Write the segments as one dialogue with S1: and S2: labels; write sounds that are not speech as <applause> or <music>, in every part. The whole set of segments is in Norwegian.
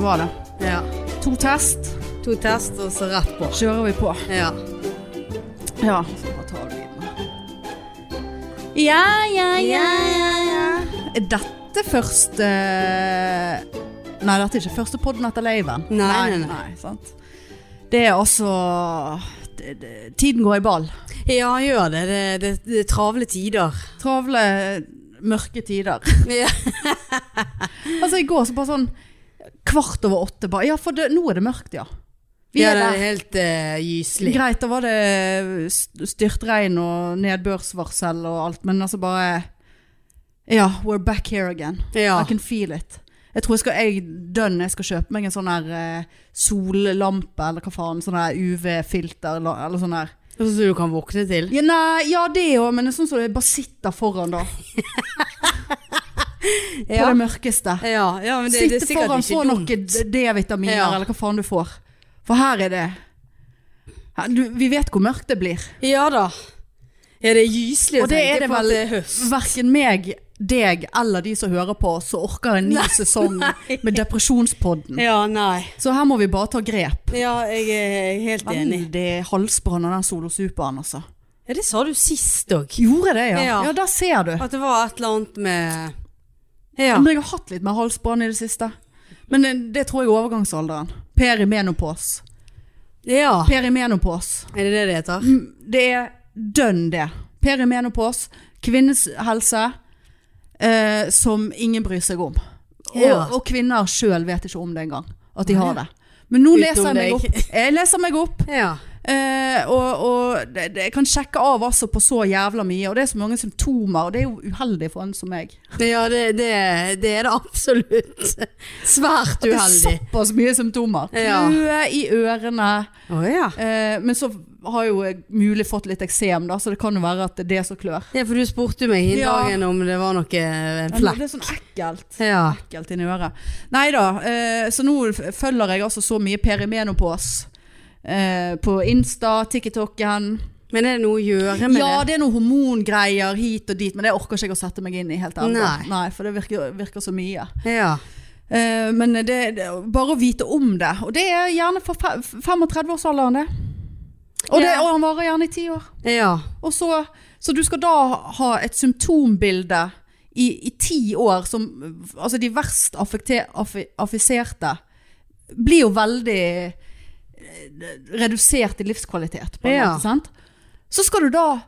S1: var det.
S2: Ja.
S1: To test,
S2: To test, og så rett på.
S1: kjører vi på.
S2: Ja.
S1: Ja. Ja, ja,
S2: ja,
S1: Er dette første Nei, dette er ikke første podden etter laven.
S2: Nei, nei, nei.
S1: sant? Det er altså det, det, Tiden går i ball.
S2: Ja, gjør det. Det, det, det er travle tider.
S1: Travle, mørke tider.
S2: Ja.
S1: <laughs> Altså, i går så bare sånn kvart over åtte bare Ja, for det, nå er det mørkt, ja. Vi
S2: ja,
S1: er
S2: det er
S1: der.
S2: helt eh, gyselig.
S1: Greit, da var det st- styrtregn og nedbørsvarsel og alt, men altså bare Ja, we're back here again.
S2: Ja.
S1: I can feel it. Jeg tror jeg skal, jeg, dønn, jeg skal kjøpe meg en sånn her eh, sollampe, eller hva faen, sånn her UV-filter, la- eller sånn her.
S2: Sånn som du kan våkne til.
S1: Ja, nei, ja det jo, men det er sånn som det bare sitter foran da,
S2: <laughs>
S1: på
S2: Ja,
S1: det mørkeste.
S2: ja, ja men det, det er
S1: Sitte
S2: sikkert
S1: foran, få
S2: ikke dumt.
S1: noe d- D-vitaminer,
S2: Ja.
S1: eller hva faen du får. For her er det... Her, du, vi vet hvor mørkt det blir.
S2: Ja da. Ja, det er gyselig å
S1: Og det er
S2: tenke
S1: det
S2: på at
S1: vel-
S2: det er høst.
S1: Hverken meg, deg eller de som hører på, så orker en ny
S2: <laughs>
S1: sesong med depresjonspodden.
S2: Ja, nei.
S1: Så her må vi bare ta grep.
S2: Ja, jeg er helt enig.
S1: Veldig halsbrann av den solosuperen, altså.
S2: Ja, det sa du sist òg.
S1: Gjorde det, ja.
S2: Ja.
S1: Ja, der ser du.
S2: At det var et eller annet med Ja.
S1: Men jeg har hatt litt mer halsbrann i det siste. Men det, det tror jeg er overgangsalderen. Perimenopos.
S2: ja.
S1: Perimenopos.
S2: Er det det det heter?
S1: Mm, Det er dønn det. Perimenopos. Kvinnes helse eh, som ingen bryr seg om.
S2: Ja.
S1: Og, og kvinner sjøl vet ikke om det engang. At de har
S2: Nei.
S1: det. Men nå
S2: Utenom
S1: leser jeg meg
S2: deg.
S1: opp. Jeg leser meg opp.
S2: Ja.
S1: Eh, og og det, det, jeg kan sjekke av altså på så jævla mye, og det er så mange symptomer, og det er jo uheldig for en som meg.
S2: Ja, det, det, det er det absolutt. Svært
S1: At det er
S2: uheldig.
S1: såpass mye symptomer.
S2: Ja.
S1: Kløe i ørene.
S2: Å ja.
S1: Eh, men så har jo jeg mulig fått litt eksem, da, så det kan jo være at det er det som klør.
S2: Ja, for du spurte meg i
S1: Ja.
S2: dagen om det var noe en
S1: Men
S2: flekk.
S1: Det er sånn ekkelt.
S2: Ja.
S1: Ekkelt inni øret. Nei da, eh, så nå f- følger jeg altså så mye perimenopos. Eh, på Insta, TikToken.
S2: Men er det noe å gjøre med
S1: Ja,
S2: det?
S1: det er noen hormongreier hit og dit, men det orker ikke jeg å sette meg inn i helt ennå.
S2: Nei.
S1: for det virker, virker så mye.
S2: Ja.
S1: Eh, men det, det, bare å vite om det. Og det er gjerne for fe- 35-årsalderen, det. Og, det.
S2: Ja.
S1: og han varer gjerne i ti år.
S2: ja.
S1: Og så, så du skal da ha et symptombilde i, i ti år som Altså, de verst affekte- affi- affiserte blir jo veldig eh, redusert i livskvalitet, på en
S2: Ja.
S1: måte. Sant? Så skal du da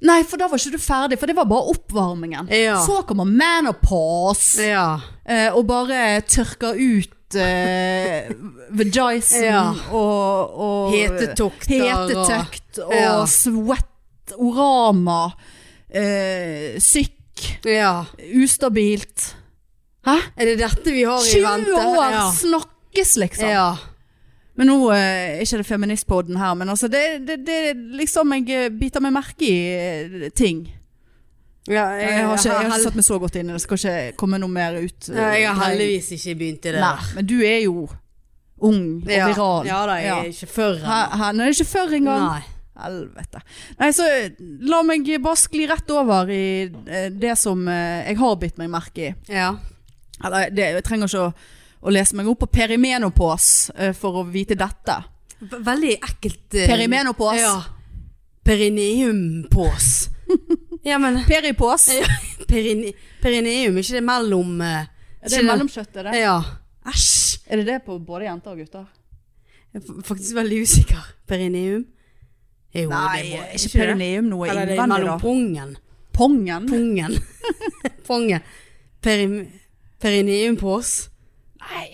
S1: Nei, for da var ikke du ferdig, for det var bare oppvarmingen.
S2: Ja.
S1: Så kommer menopause
S2: Ja.
S1: eh, og bare tørker ut eh, vagisen
S2: Ja.
S1: og, og
S2: Hetetokter
S1: Hetetøkt og
S2: Ja.
S1: sweat, orama, eh, sykk,
S2: og Ja.
S1: ustabilt. Hæ?
S2: Er det dette vi har i
S1: 20
S2: vente?
S1: år altså.
S2: Ja.
S1: snakkes, liksom.
S2: ja.
S1: Men nå eh, er ikke det feministpodden her, men altså det, det, det er liksom Jeg eh, biter meg merke i eh, ting.
S2: ja
S1: Jeg har ikke, jeg har ikke satt meg så godt inn i det, skal ikke komme noe mer ut. eh,
S2: Ja, jeg har
S1: nei.
S2: heldigvis ikke begynt i det.
S1: Nei, men du er jo ung og
S2: ja.
S1: viral.
S2: Ja da, jeg er ikke før
S1: Her, her, nei, det er ikke før engang.
S2: Nei.
S1: Helvete. Nei, så la meg bare skli rett over i eh, det som eh, jeg har bitt meg merke i.
S2: Ja.
S1: Eller, det, jeg trenger ikke å, å lese meg opp på perimenopos eh, for å vite dette.
S2: V- Veldig ekkelt eh,
S1: Perimenopos.
S2: Ja.
S1: <laughs>
S2: Perineum-pås. ja, men
S1: Peripos.
S2: Ja, perine, Perineum, ikke det mellom eh,
S1: Er det mellomkjøttet, det?
S2: Ja. Æsj.
S1: Er det det på både jenter og gutter?
S2: Jeg er f- faktisk veldig usikker. Perineum? Jo, det må,
S1: ikke perineum noe
S2: Eller det er
S1: innvendig,
S2: mellom
S1: da.
S2: pungen.
S1: Pongen? <laughs>
S2: Pungen. Pongen. Perim, perineum-pås.
S1: Nei.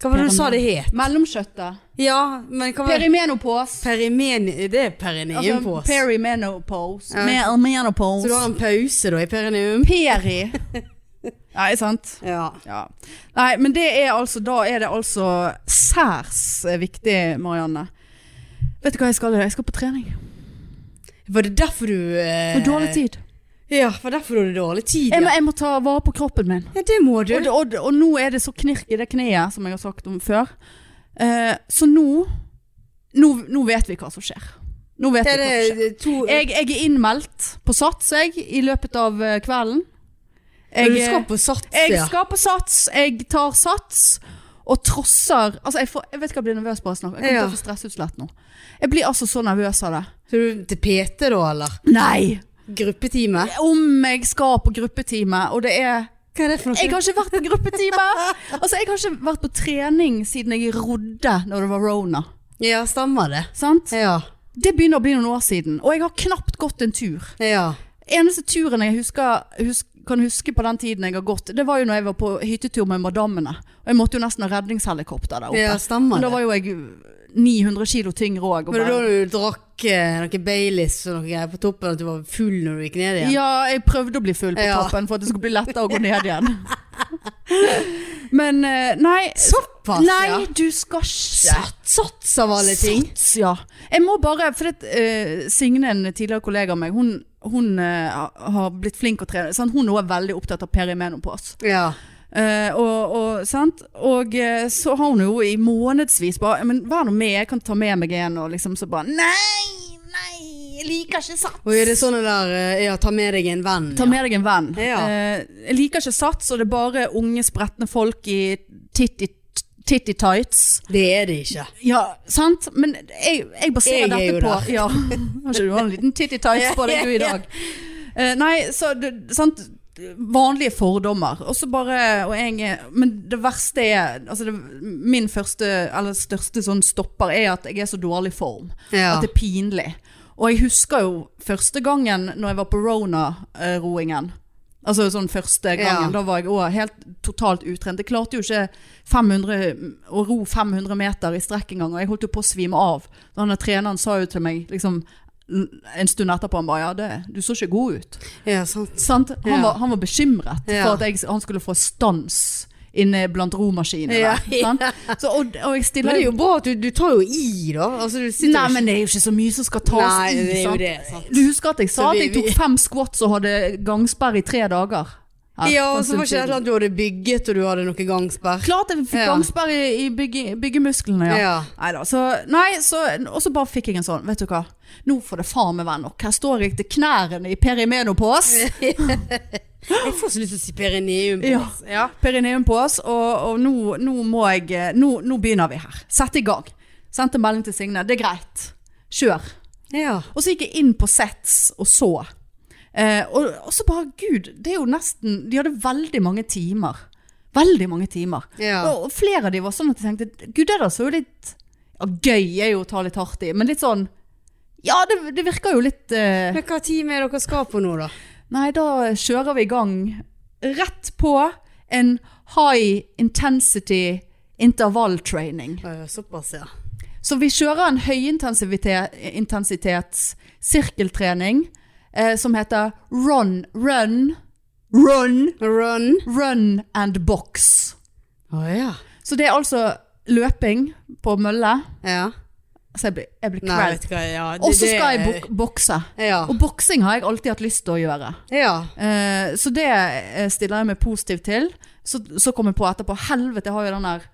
S2: Hva var det du sa det
S1: Perineum.
S2: het?
S1: Mellomkjøttet.
S2: Ja, men hva var det?
S1: Perimenopos.
S2: Perimen... Det er perineum-pås.
S1: Altså, perimenopos.
S2: Ja.
S1: Mer- Menopos.
S2: Så du har en pause da i perineum?
S1: Peri. <laughs> Nei, sant?
S2: Ja.
S1: Ja. Nei, men det er altså, da er det altså særs eh, viktig, Marianne. Vet du hva jeg skal? Jeg skal på trening.
S2: Var det derfor du eh,
S1: For dårlig tid.
S2: Ja, var derfor du hadde dårlig tid?
S1: Jeg må,
S2: ja.
S1: jeg må ta vare på kroppen min.
S2: ja, det må du.
S1: Og, det- og, det- og nå er det så knirk i det kneet, som jeg har sagt om før. Eh, så nå, nå Nå vet vi hva som skjer. Nå vet
S2: Ja,
S1: vi hva som skjer.
S2: det er to
S1: Jeg, jeg er innmeldt på Sats, jeg, i løpet av eh, kvelden.
S2: Men
S1: Jeg, eh,
S2: Du skal på sats,
S1: Jeg
S2: ja.
S1: skal på sats, jeg tar sats og trosser Altså, jeg, får, jeg vet hva jeg blir nervøs på å snakke. Jeg kommer
S2: Ja.
S1: til å få stressutslett nå. Jeg blir altså så nervøs av det.
S2: Så du til PT da, eller?
S1: Nei!
S2: Gruppetime?
S1: Om jeg skal på gruppetime, og det er
S2: Hva er det for noe?
S1: Jeg har ikke vært på gruppetime!
S2: <laughs>
S1: Altså, jeg har ikke vært på trening siden jeg rodde når det var rona.
S2: Ja, stemmer det.
S1: Sant?
S2: Ja.
S1: Det begynner å bli noen år siden, og jeg har knapt gått en tur.
S2: ja.
S1: Eneste turen jeg husker, hus- kan huske på den tiden jeg har gått, det var jo når jeg var på hyttetur med madammene. Og jeg måtte jo nesten ha redningshelikopter der oppe.
S2: Ja, stemmer
S1: Men da
S2: det.
S1: var jo jeg 900 kilo tyngre òg.
S2: Var det da du drakk eh, noe Baileys og noe greier på toppen, at du var full når du gikk ned igjen?
S1: Ja, jeg prøvde å bli full på
S2: Ja.
S1: toppen for at det skulle bli lettere å gå ned igjen. <laughs> Men eh, nei
S2: Såpass,
S1: Nei,
S2: ja.
S1: du skal ikke
S2: Sats, sats av alle ting.
S1: Sats, ja. Jeg må bare, for det, eh, Signe, en tidligere kollega av meg, hun, hun eh, har blitt flink å trene. Sant? Hun er også veldig opptatt av perimenopause.
S2: Ja.
S1: Eh, og, og, sant? og eh, så har hun jo i månedsvis bare Men vær nå med, jeg kan ta med meg en, og liksom så bare Nei, nei, jeg liker ikke sats.
S2: Og er det sånn det der eh, Ja, ta med deg en venn.
S1: Ta med deg en venn.
S2: Ja.
S1: Eh, jeg liker ikke sats, og det er bare unge, spretne folk i titty, titty tights.
S2: Ja. Det er det ikke.
S1: Ja, sant? Men jeg, jeg baserer
S2: Jeg er jo
S1: dette på
S2: der.
S1: ja. <laughs> Har ikke du hatt en liten titty tights på deg du i dag? Eh, nei, så det, sant Vanlige fordommer. Og så bare og jeg, er- Men det verste er altså det, Min første, eller største sånn stopper er at jeg er så dårlig form.
S2: Ja.
S1: At det er pinlig. Og jeg husker jo første gangen når jeg var på Rona-roingen. Altså sånn første gangen.
S2: Ja.
S1: Da var jeg òg helt totalt utrent. Jeg klarte jo ikke 500, å ro 500 meter i strekk engang, og jeg holdt jo på å svime av. Da han der treneren sa jo til meg liksom en stund etterpå han bare ja, det, du så ikke god ut.
S2: Ja, sant.
S1: Sant? Han,
S2: Ja.
S1: var, han var bekymret
S2: Ja.
S1: for at jeg, han skulle få stans inne blant romaskinene.
S2: Ja,
S1: <laughs> sant? Så, og, og jeg stiller
S2: Men det er jo bra at du, du tar jo i, da. Altså, du sitter jo
S1: Nei,
S2: ikke-
S1: men det er jo ikke så mye som skal tas
S2: Nei,
S1: i.
S2: det er jo
S1: sant?
S2: det, sant.
S1: Du husker at jeg sa
S2: Så vi-
S1: at jeg tok fem squats og hadde gangsperre i tre dager? her
S2: Ja,
S1: for en
S2: og så var
S1: stund
S2: ikke det et
S1: siden.
S2: eller annet du hadde bygget, og du hadde noe gangsperr.
S1: Klart jeg fikk
S2: Ja.
S1: gangsperre i, i bygge, byggemusklene, ja.
S2: Ja.
S1: Neida, så, nei, så, og så bare fikk jeg en sånn, vet du hva, nå får det faen meg være nok. Her står jeg til knærne i
S2: <laughs>
S1: perimenopås.
S2: Jeg får så lyst til å si perineum.
S1: Ja.
S2: altså. ja.
S1: Perineum på oss, og, og nå, nå må jeg eh, nå, nå begynner vi her. Sett i gang. Sendte en melding til Signe. Det er greit. Kjør.
S2: Ja.
S1: Og så gikk jeg inn på Sets og så. Eh, og, og så bare Gud, det er jo nesten De hadde veldig mange timer. Veldig mange timer.
S2: Ja.
S1: Og, og flere av de var sånn at jeg tenkte Gud, det der så jo litt ja, Gøy er jo å ta litt hardt i, men litt sånn Ja, det, det virker jo litt eh,
S2: Men hva time er dere skal på nå, da?
S1: Nei, da kjører vi i gang rett på en high intensity intervalltraining.
S2: Å, ja, Såpass, ja.
S1: Så vi kjører en høyintensitets sirkeltrening eh, som heter run, run, run,
S2: Run.
S1: run and box.
S2: Å ja.
S1: Så det er altså løping på mølle.
S2: ja.
S1: Så jeg blir, jeg blir
S2: Nei,
S1: kveld.
S2: vet du hva. Ja, det-
S1: Og så
S2: det-
S1: skal jeg bok bokse.
S2: Ja.
S1: Og boksing har jeg alltid hatt lyst til å gjøre.
S2: ja.
S1: Eh, så det eh, stiller jeg meg positiv til. Så, så kom jeg på etterpå Helvete, jeg har jo den der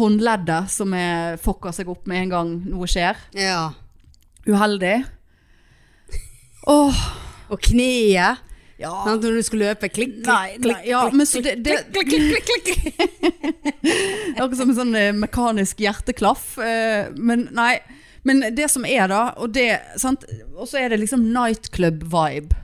S1: håndleddet som er fucker seg opp med en gang noe skjer.
S2: ja.
S1: Uheldig. Åh,
S2: Og kneet.
S1: Ja.
S2: Sant, når du skal løpe. Klikk, klikk,
S1: Ah. Nei,
S2: klikk.
S1: nei, ja, men så det, det
S2: Klikk, klikk, klikk, klikk, klikk.
S1: det er akkurat som en sånn eh, mekanisk hjerteklaff. eh, Men nei. Men det som er da, og det sant? Og så er det liksom nightclub-vibe.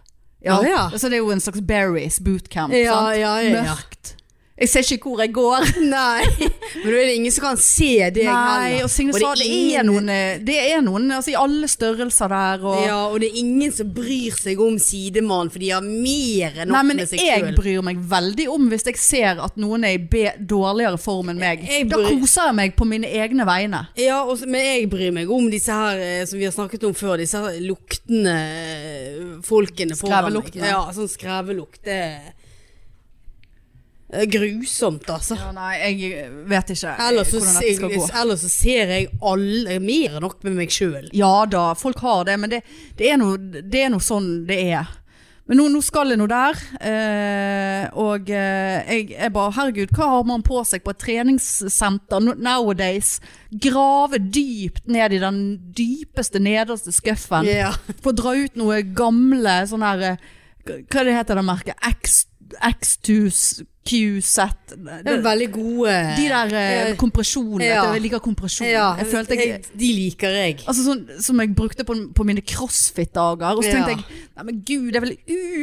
S2: Å, ja.
S1: Så det er jo en slags Berries bootcamp.
S2: Ja,
S1: sant?
S2: ja, ja, ja.
S1: Mørkt. Jeg ser ikke hvor jeg går. <laughs>
S2: Nei. Men da er det ingen som kan se deg
S1: Nei, og Signe sa det er
S2: ingen-
S1: noen, eh, det er noen altså, i alle størrelser der. Og,
S2: Ja, og det er ingen som bryr seg om sidemannen, for de har mer enn
S1: Nei,
S2: nok
S1: men
S2: med seg
S1: jeg
S2: sjøl.
S1: bryr meg veldig om hvis jeg ser at noen er i be dårligere form enn meg.
S2: Jeg
S1: Da
S2: bryr-
S1: koser jeg meg på mine egne vegne.
S2: Ja, og så- men jeg bryr meg om disse her eh, som vi har snakket om før, disse her luktende eh, folkene foran meg.
S1: Skreveluktene.
S2: Ja, sånn skrevelukt. Det er grusomt, altså.
S1: Ja, nei, jeg vet ikke eh,
S2: Ellers så,
S1: hvordan dette skal gå.
S2: jeg, ellers så ser jeg alle mer enn nok med meg sjøl.
S1: Ja da, folk har det, men det, det, er, noe, det er noe sånn det er. Men nå, nå skal jeg nå der, eh, og eh, jeg er bare Herregud, hva har man på seg på et treningssenter no- nowadays? Grave dypt ned i den dypeste, nederste skuffen.
S2: Ja.
S1: Få dra ut noe gamle sånn her eh, Hva det heter det merket? X, X2 QZ
S2: Det er
S1: det-
S2: veldig gode
S1: De der eh,
S2: Ja.
S1: kompresjonene.
S2: Ja.
S1: Jeg liker kompresjon.
S2: Ja,
S1: Jeg følte jeg
S2: De liker jeg.
S1: Altså sånn som jeg brukte på, på mine crossfit-dager. Og så tenkte
S2: Ja.
S1: jeg Nei, men gud, jeg vil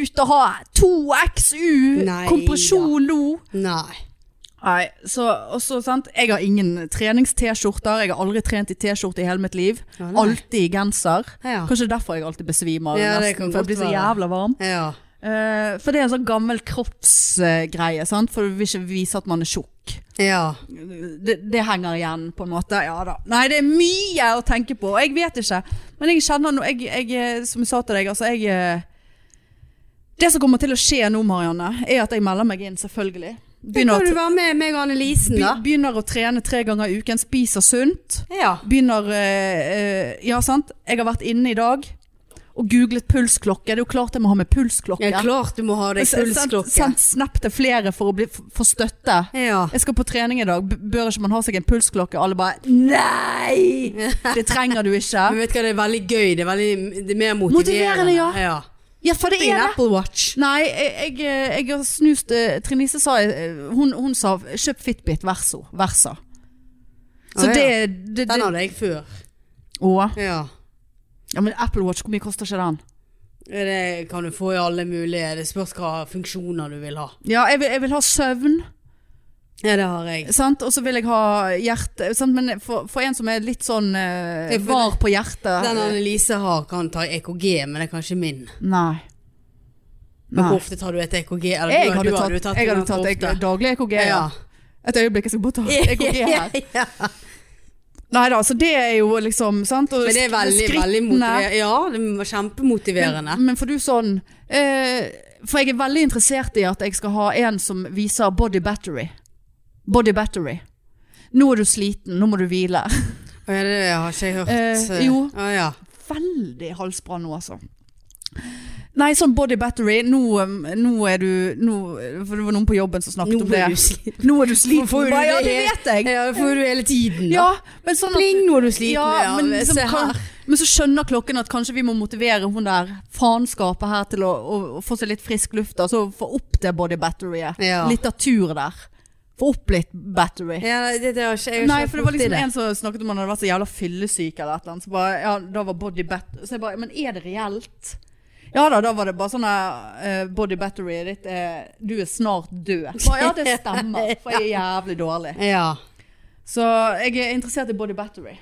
S1: ut og ha 2XU
S2: Nei,
S1: kompresjon nå.
S2: Nei.
S1: Nei, så, og så, sant? Jeg har ingen trenings-T-skjorter. Jeg har aldri trent i T-skjorte i hele mitt liv.
S2: Ja, nei.
S1: Alltid i genser.
S2: Ja.
S1: Kanskje derfor jeg alltid besvimer.
S2: Ja, det
S1: nesten,
S2: kan
S1: for jeg
S2: godt
S1: blir så
S2: være.
S1: jævla varm.
S2: Ja.
S1: Eh, for det er en sånn gammel kroppsgreie, sant? for du vil ikke vise at man er tjukk.
S2: ja.
S1: Det, det henger igjen, på en måte. Ja da. Nei, det er mye å tenke på. og Jeg vet ikke. Men jeg kjenner nå jeg, jeg, eh, Som jeg sa til deg, altså jeg eh, Det som kommer til å skje nå, Marianne, er at jeg melder meg inn, selvfølgelig.
S2: Begynner
S1: Begynner å
S2: kan du være med meg og Annelisen, da?
S1: Be- Begynner å trene tre ganger i uken, spiser sunt.
S2: Ja.
S1: Begynner eh, eh, Ja, sant. Jeg har vært inne i dag og googlet pulsklokke. Det er jo klart jeg må ha med pulsklokke.
S2: ja. Klart du må ha deg
S1: S- Sendt
S2: pulsklokke.
S1: sendt snap til flere for å bli, f- få støtte.
S2: Ja.
S1: Jeg skal på trening i dag. B- Bør ikke man ha seg en pulsklokke? Alle bare Nei!
S2: <laughs>
S1: Det trenger du ikke.
S2: Men vet du hva, det er veldig gøy. Det er, veldig, det er mer motiverende.
S1: Motiverende, ja.
S2: ja.
S1: Ja, for det
S2: Det er
S1: er
S2: en
S1: det.
S2: Apple Watch.
S1: Nei, jeg, jeg, jeg har snust eh, Trine Lise sa eh, hun, hun sa kjøp Fitbit Verso. Versa. Så
S2: Å, ja.
S1: det, det, det
S2: Den hadde jeg før.
S1: Å.
S2: Ja.
S1: Ja, men Apple Watch, hvor mye koster ikke den?
S2: Det kan du få i alle mulige Det spørs hva funksjoner du vil ha.
S1: Ja, jeg vil, jeg vil ha søvn,
S2: Ja, det har jeg.
S1: sant? Og så vil jeg ha hjerte, sant? Men for, for en som er litt sånn
S2: Ja,
S1: eh,
S2: for
S1: var på hjertet
S2: Den Annelise har, kan ta EKG, men det er kanskje min.
S1: Nei.
S2: Men
S1: Nei.
S2: hvor ofte tar du et EKG? Eller
S1: Jeg
S2: du,
S1: hadde
S2: du
S1: tatt,
S2: jo
S1: jeg hadde
S2: den
S1: tatt
S2: for
S1: ek-
S2: ofte.
S1: daglig EKG. Ja.
S2: Ja.
S1: Et øyeblikk, jeg
S2: <laughs>
S1: skal bare ta EKG her.
S2: Ja.
S1: Nei da, så det er jo liksom sant? Og
S2: Men det er veldig,
S1: skrittene-
S2: veldig motiverende. Ja, det var kjempemotiverende.
S1: Men, men får du sånn eh, For jeg er veldig interessert i at jeg skal ha en som viser body battery. Body battery. Nå er du sliten, nå må du hvile. <laughs>
S2: Å, ja, det har ikke jeg hørt.
S1: Eh, jo.
S2: Å, ja.
S1: veldig halsbrann nå, altså. Nei, sånn body battery Nå, um, nå er du nå, For det var noen på jobben som snakket
S2: Nå
S1: om det.
S2: er du sliten.
S1: Nå er du sliten.
S2: Får du
S1: Bare, ja,
S2: det
S1: det
S2: helt-
S1: vet jeg.
S2: Ja, det får du hele tiden. da.
S1: Ja, men sånn at
S2: Pling, nå er du sliten.
S1: ja, men,
S2: se
S1: liksom, kan,
S2: her.
S1: men så skjønner klokken at kanskje vi må motivere hun der faenskapet her til å, å, å få seg litt frisk luft. Altså få opp det body batteriet.
S2: Ja.
S1: Litteratur der. Få opp litt battery.
S2: Ja, nei, det, det har ikke, jeg har
S1: Nei,
S2: ikke
S1: for det var
S2: fått i
S1: liksom en som snakket om han hadde vært så jævla fyllesyk eller et eller annet. Så bare, ja, da var body bat- Så jeg bare, men er det reelt? Ja da, da var det bare sånn eh, body battery ditt er Du er snart død. Så Bare, ja, det stemmer, for jeg er jævlig dårlig.
S2: Ja.
S1: Så jeg er interessert i body battery.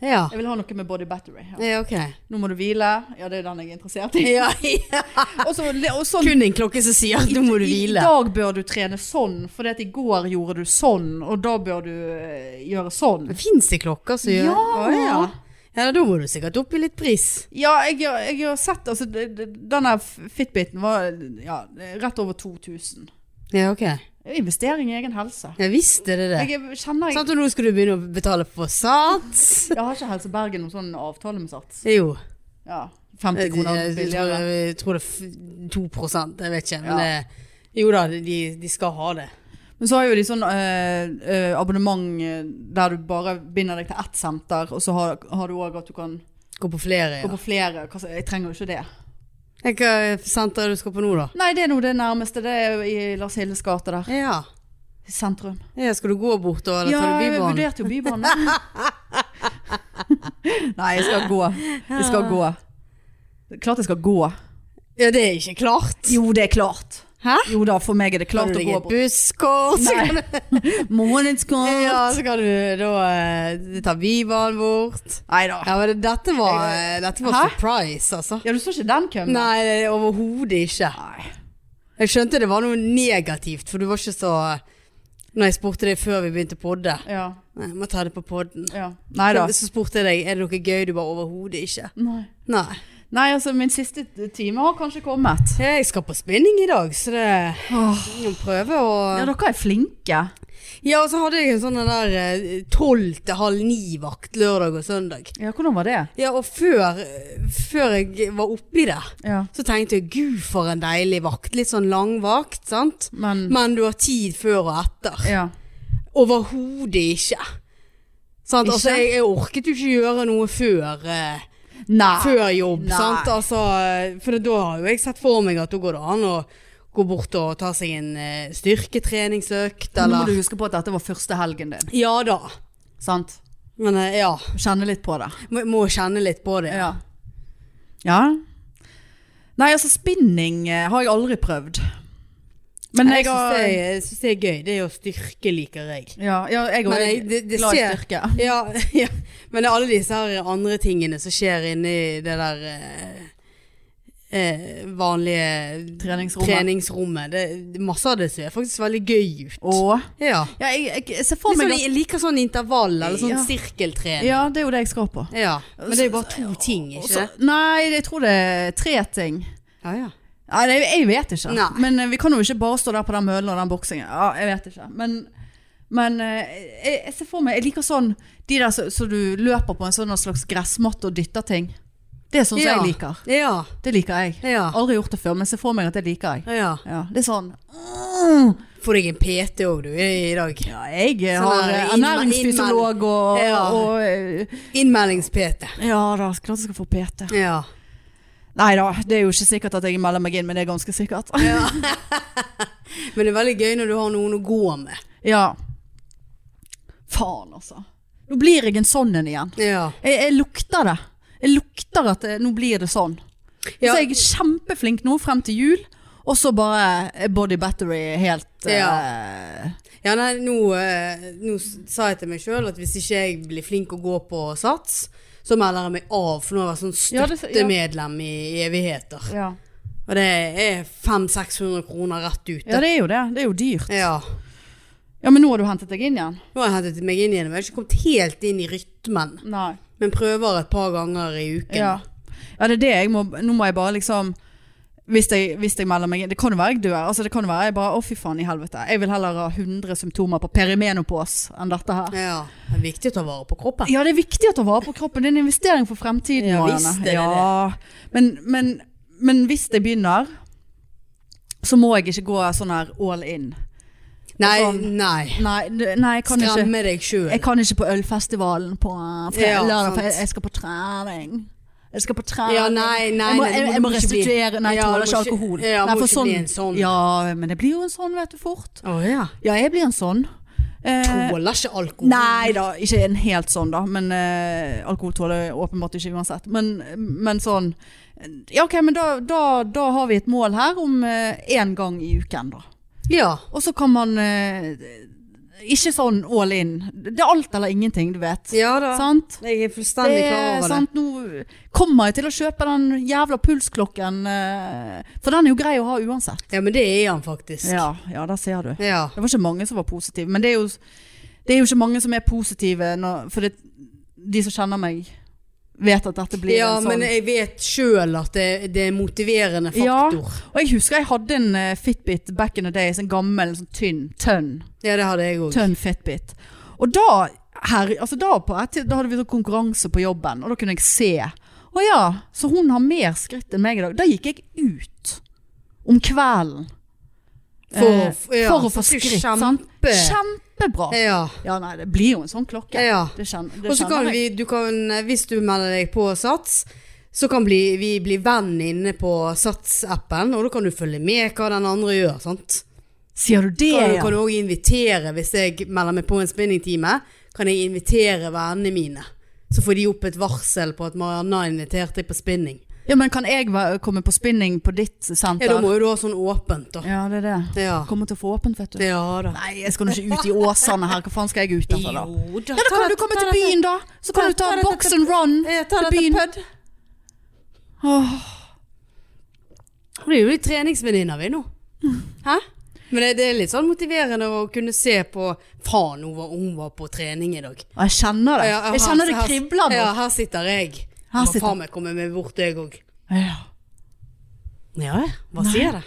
S2: Ja.
S1: Jeg vil ha noe med body battery. Ja.
S2: ja, ok.
S1: Nå må du hvile. Ja, det er den jeg er interessert i.
S2: <laughs> Ja, ja.
S1: Og så- og sånn
S2: Kun en klokke som sier at nå må du hvile.
S1: I dag bør du trene sånn, for i går gjorde du sånn, og da bør du eh, gjøre sånn.
S2: Fins det klokker som gjør
S1: Ja.
S2: Å, ja. ja, da må du sikkert opp i litt pris.
S1: Ja, jeg, jeg har sett altså, det- det- Denne Fitbiten var ja, rett over 2000
S2: Ja, ok.
S1: Investering i egen helse
S2: Ja Sånn visst er det det.
S1: Jeg er- kjenner jeg,
S2: Sant, og nå skal du begynne å betale for sats.
S1: jeg har ikke Helse Bergen noen sånn avtale med sats
S2: Jo.
S1: ja,
S2: Eh,
S1: 50
S2: Jeg,
S1: kroner
S2: jeg, jeg, tror,
S1: billigere
S2: jeg tror det er f- 2 jeg vet ikke. Men
S1: Ja.
S2: det, jo da, de, de skal ha det.
S1: Men så har jo de sånn eh, eh, abonnement eh, Der du bare binder deg til ett senter Og så har, har du også at du kan
S2: Gå på flere,
S1: gå
S2: ja.
S1: på flere Hva- Jeg trenger jo ikke det
S2: Hva senter du skal på nå, da?
S1: Nei, det er noe det nærmeste Det er jo i Lars Hilles gate der
S2: Ja.
S1: I sentrum
S2: ja. Skal du gå bort, da? Eller
S1: ja,
S2: tar du
S1: jeg
S2: Bybanen?
S1: vurderte jo <laughs> Bybanen. Nei, jeg skal gå. Jeg skal gå. Klart jeg skal gå.
S2: Ja, det er ikke klart.
S1: Jo, det er klart.
S2: Hæ?
S1: Jo da, for meg er det
S2: Klart
S1: klart å
S2: deg
S1: gå
S2: et
S1: bort.
S2: busskort. så
S1: Nei.
S2: kan du-
S1: <laughs> Månedskort.
S2: <laughs> Ja, så kan du da eh, ta Bybanen bort.
S1: Nei da.
S2: Ja, men det- dette var, eh, dette var
S1: Hæ?
S2: surprise, altså.
S1: Ja, du så ikke den komme?
S2: Nei, det er overhodet ikke.
S1: Nei.
S2: Jeg skjønte det var noe negativt, for du var ikke så eh, Når jeg spurte deg før vi begynte å podde.
S1: Ja,
S2: Nei, jeg må ta det på podden.
S1: ja. Nei da.
S2: Så spurte jeg deg er det noe gøy du bare overhodet ikke.
S1: Nei.
S2: Nei.
S1: Nei, altså, min siste time har kanskje kommet.
S2: Jeg skal på spinning i dag, så det
S1: Åh.
S2: jeg må prøve å
S1: Ja, dere er flinke.
S2: Ja, og så hadde jeg en sånn den der eh, tolv til halv ni-vakt lørdag og søndag.
S1: Ja, hvordan var det?
S2: Ja, og før, eh, før jeg var oppi det,
S1: Ja.
S2: så tenkte jeg gud for en deilig vakt. Litt sånn langvakt, sant.
S1: Men
S2: Men du har tid før og etter.
S1: Ja.
S2: Overhodet ikke. Sant?
S1: Ikke?
S2: Altså, jeg, jeg orket jo ikke gjøre noe før, eh,
S1: Nei.
S2: før jobb,
S1: Ah, Nei.
S2: sant? Altså, eh, for da har jo jeg sett for meg at da går det an å gå bort og ta seg en eh, styrketreningsøkt,
S1: Nå må
S2: eller
S1: du huske på at dette var første helgen din.
S2: Ja da.
S1: Sant?
S2: Men eh, ja.
S1: Kjenne litt på det.
S2: Må, må kjenne litt på det.
S1: Ja. ja. Nei, altså spinning eh, har jeg aldri prøvd. Men
S2: Jeg,
S1: jeg, har
S2: synes det- jeg syns det er gøy. Det er jo styrke liker jeg.
S1: Ja, ja jeg
S2: Men
S1: òg.
S2: jeg- det- det
S1: Glad i
S2: ser-
S1: styrke.
S2: Ja, <laughs> ja. Men alle disse her andre tingene som skjer inni det der eh, eh, vanlige
S1: Treningsrommet.
S2: treningsrommet. Det, masse av det ser faktisk veldig gøy ut.
S1: Og
S2: ja.
S1: Ja, jeg, jeg, jeg ser for
S2: Litt
S1: meg
S2: sånn, jeg liker sånn intervall eller sånn
S1: Ja.
S2: sirkeltrening. Ja.
S1: Ja, det er jo det jeg skal på.
S2: Men det er jo bare to ting,
S1: Og
S2: ikke
S1: så-
S2: det?
S1: Nei, jeg tror det er tre ting.
S2: Ja, ja.
S1: Nei, det, jeg vet ikke.
S2: Nei.
S1: Men eh, vi kan jo ikke bare stå der på den mølen og den boksingen. Ja, jeg vet ikke. Men, men eh, jeg, jeg ser for meg Jeg liker sånn de der som som du løper på en sånn slags gressmatte og dytter ting. Det er sånn som
S2: ja.
S1: jeg liker.
S2: Ja.
S1: Det liker jeg.
S2: Ja.
S1: Aldri gjort det før, men jeg ser for meg at det liker jeg.
S2: ja.
S1: Ja, det er sånn mm,
S2: Får deg en PT òg, du, i i dag.
S1: Ja, jeg
S2: Sånn
S1: har
S2: der
S1: eh,
S2: innme-
S1: ernæringsfysiolog og,
S2: Ja.
S1: og eh,
S2: Innmeldings-PT.
S1: Ja da, klart jeg skal få PT.
S2: Ja.
S1: Nei da, det er jo ikke sikkert at jeg melder meg inn, men det er ganske sikkert.
S2: Men det er veldig gøy når du har noen å gå med.
S1: Ja. Faen, altså. Nå blir jeg en sånn en igjen.
S2: Ja.
S1: Jeg, jeg lukter det. Jeg lukter at det, nå blir det sånn.
S2: Ja.
S1: Så jeg er kjempeflink nå frem til jul, og så bare er body battery helt eh,
S2: Ja, nei, nå, eh, nå s- sa jeg til meg sjøl at hvis ikke jeg blir flink å gå på sats, så melder jeg meg av, for nå har jeg vært sånn
S1: Ja, det- ja.
S2: støttemedlem i evigheter.
S1: ja.
S2: Og det er 500-600 kroner rett
S1: ja,
S2: ute.
S1: det er jo det. Det er jo dyrt.
S2: Ja.
S1: Ja, men nå har du hentet deg inn igjen?
S2: Nå har jeg hentet meg inn igjen. Jeg har ikke kommet helt inn i rytmen,
S1: Nei.
S2: men prøver et par ganger i uken.
S1: Ja, ja det er det jeg må Nå må jeg bare liksom hvis jeg, hvis jeg melder meg inn Det kan jo være jeg dør. Altså, det kan jo være jeg bare Å, fy faen i helvete. Jeg vil heller ha 100 symptomer på perimenopause enn dette her.
S2: Ja, Det er viktig å ta vare på kroppen.
S1: Ja, det er viktig å ta vare på kroppen. Det er en investering for fremtiden.
S2: Ja,
S1: Marianne.
S2: visst er det
S1: ja. Men, men, men hvis jeg begynner, så må jeg ikke gå sånn her all in.
S2: Nei,
S1: sånn.
S2: nei.
S1: Nei, det- nei jeg, kan ikke,
S2: Skremme deg sjøl.
S1: jeg kan ikke på ølfestivalen på eh, fre-
S2: Ja,
S1: lørdag, for
S2: sant.
S1: jeg, jeg skal på trening. Jeg skal på trening.
S2: Ja, nei, nei,
S1: jeg må,
S2: nei,
S1: jeg,
S2: det
S1: jeg må
S2: ikke bli-
S1: restituere. Nei, jeg
S2: Ja,
S1: tåler
S2: det må
S1: ikke alkohol.
S2: Ja,
S1: nei,
S2: må
S1: for
S2: ikke bli en sånn.
S1: Ja, men det blir jo en sånn, vet du, fort.
S2: Å, ja.
S1: Ja, jeg blir en sånn. Eh,
S2: Tåler ikke alkohol.
S1: Nei da, ikke en helt sånn da, men eh, alkohol tåler jeg åpenbart ikke uansett. Men, men sånn Ja, ok, men da, da, da har vi et mål her om én gang i uken, da.
S2: Ja.
S1: Og så kan man eh, Ikke sånn all in. Det er alt eller ingenting, du vet.
S2: ja da.
S1: Sant?
S2: Jeg er
S1: Det
S2: fullstendig klar
S1: er
S2: over det.
S1: sant, nå kommer jeg til å kjøpe den jævla pulsklokken, eh, for den er jo grei å ha uansett.
S2: Ja, men det er han faktisk.
S1: Ja, ja, der ser du.
S2: Ja.
S1: Det var ikke mange som var positive, men det er jo, det er jo ikke mange som er positive, når, for det, de som kjenner meg vet at dette blir
S2: Ja,
S1: en sånn.
S2: men jeg vet sjøl at det, det er motiverende
S1: Ja.
S2: faktor.
S1: Og jeg husker jeg hadde en eh, Fitbit back in the days, en gammel, sånn tynn, tønn,
S2: Ja, det hadde jeg òg.
S1: tønn Fitbit. Og da, her, altså da, på, et tid- da hadde vi sånn konkurranse på jobben, og da kunne jeg se. Å ja, så hun har mer skritt enn meg i dag. Da gikk jeg ut om kvelden
S2: For,
S1: eh, for å få skritt. sant?
S2: Kjempe.
S1: Kjempebra.
S2: Ja.
S1: Ja, nei, det blir jo en sånn klokke.
S2: ja.
S1: Det kjenner, det
S2: Og så kan
S1: kjenner jeg.
S2: vi, du kan, hvis du melder deg på Sats, så kan bli, vi bli venn inne på Sats-appen, og da kan du følge med hva den andre gjør, sant?
S1: Sier du det,
S2: Kan, du
S1: ja?
S2: kan du også invitere, hvis jeg melder meg på en spinningtime, kan jeg invitere vennene mine. Så får de opp et varsel på at Marianna inviterte deg på spinning.
S1: Ja, men kan jeg være- komme på spinning på ditt
S2: Ja, da
S1: senter?
S2: må jo du ha sånn åpent, da.
S1: Ja, det er det.
S2: Ja,
S1: Kommer til å få åpent, vet du.
S2: ja da.
S1: Nei, jeg skal nå ikke ut i Åsane her. Hva faen skal jeg ut derfra da?
S2: da.
S1: Ja, da kan du komme til byen, da. Så kan du ta box and run til byen. Åh,
S2: Det er jo litt treningsvenninner vi nå. Hæ? Men det, det er litt sånn motiverende å kunne se på Faen, hun var, hun var på trening i dag.
S1: Jeg kjenner det.
S2: Ja, her-
S1: Jeg kjenner det
S2: her-
S1: kribler
S2: Ja,
S1: nå.
S2: her sitter jeg.
S1: Her
S2: Må
S1: sitter-
S2: faen meg komme meg bort, jeg òg.
S1: Ja,
S2: Ja, ja. hva sier det?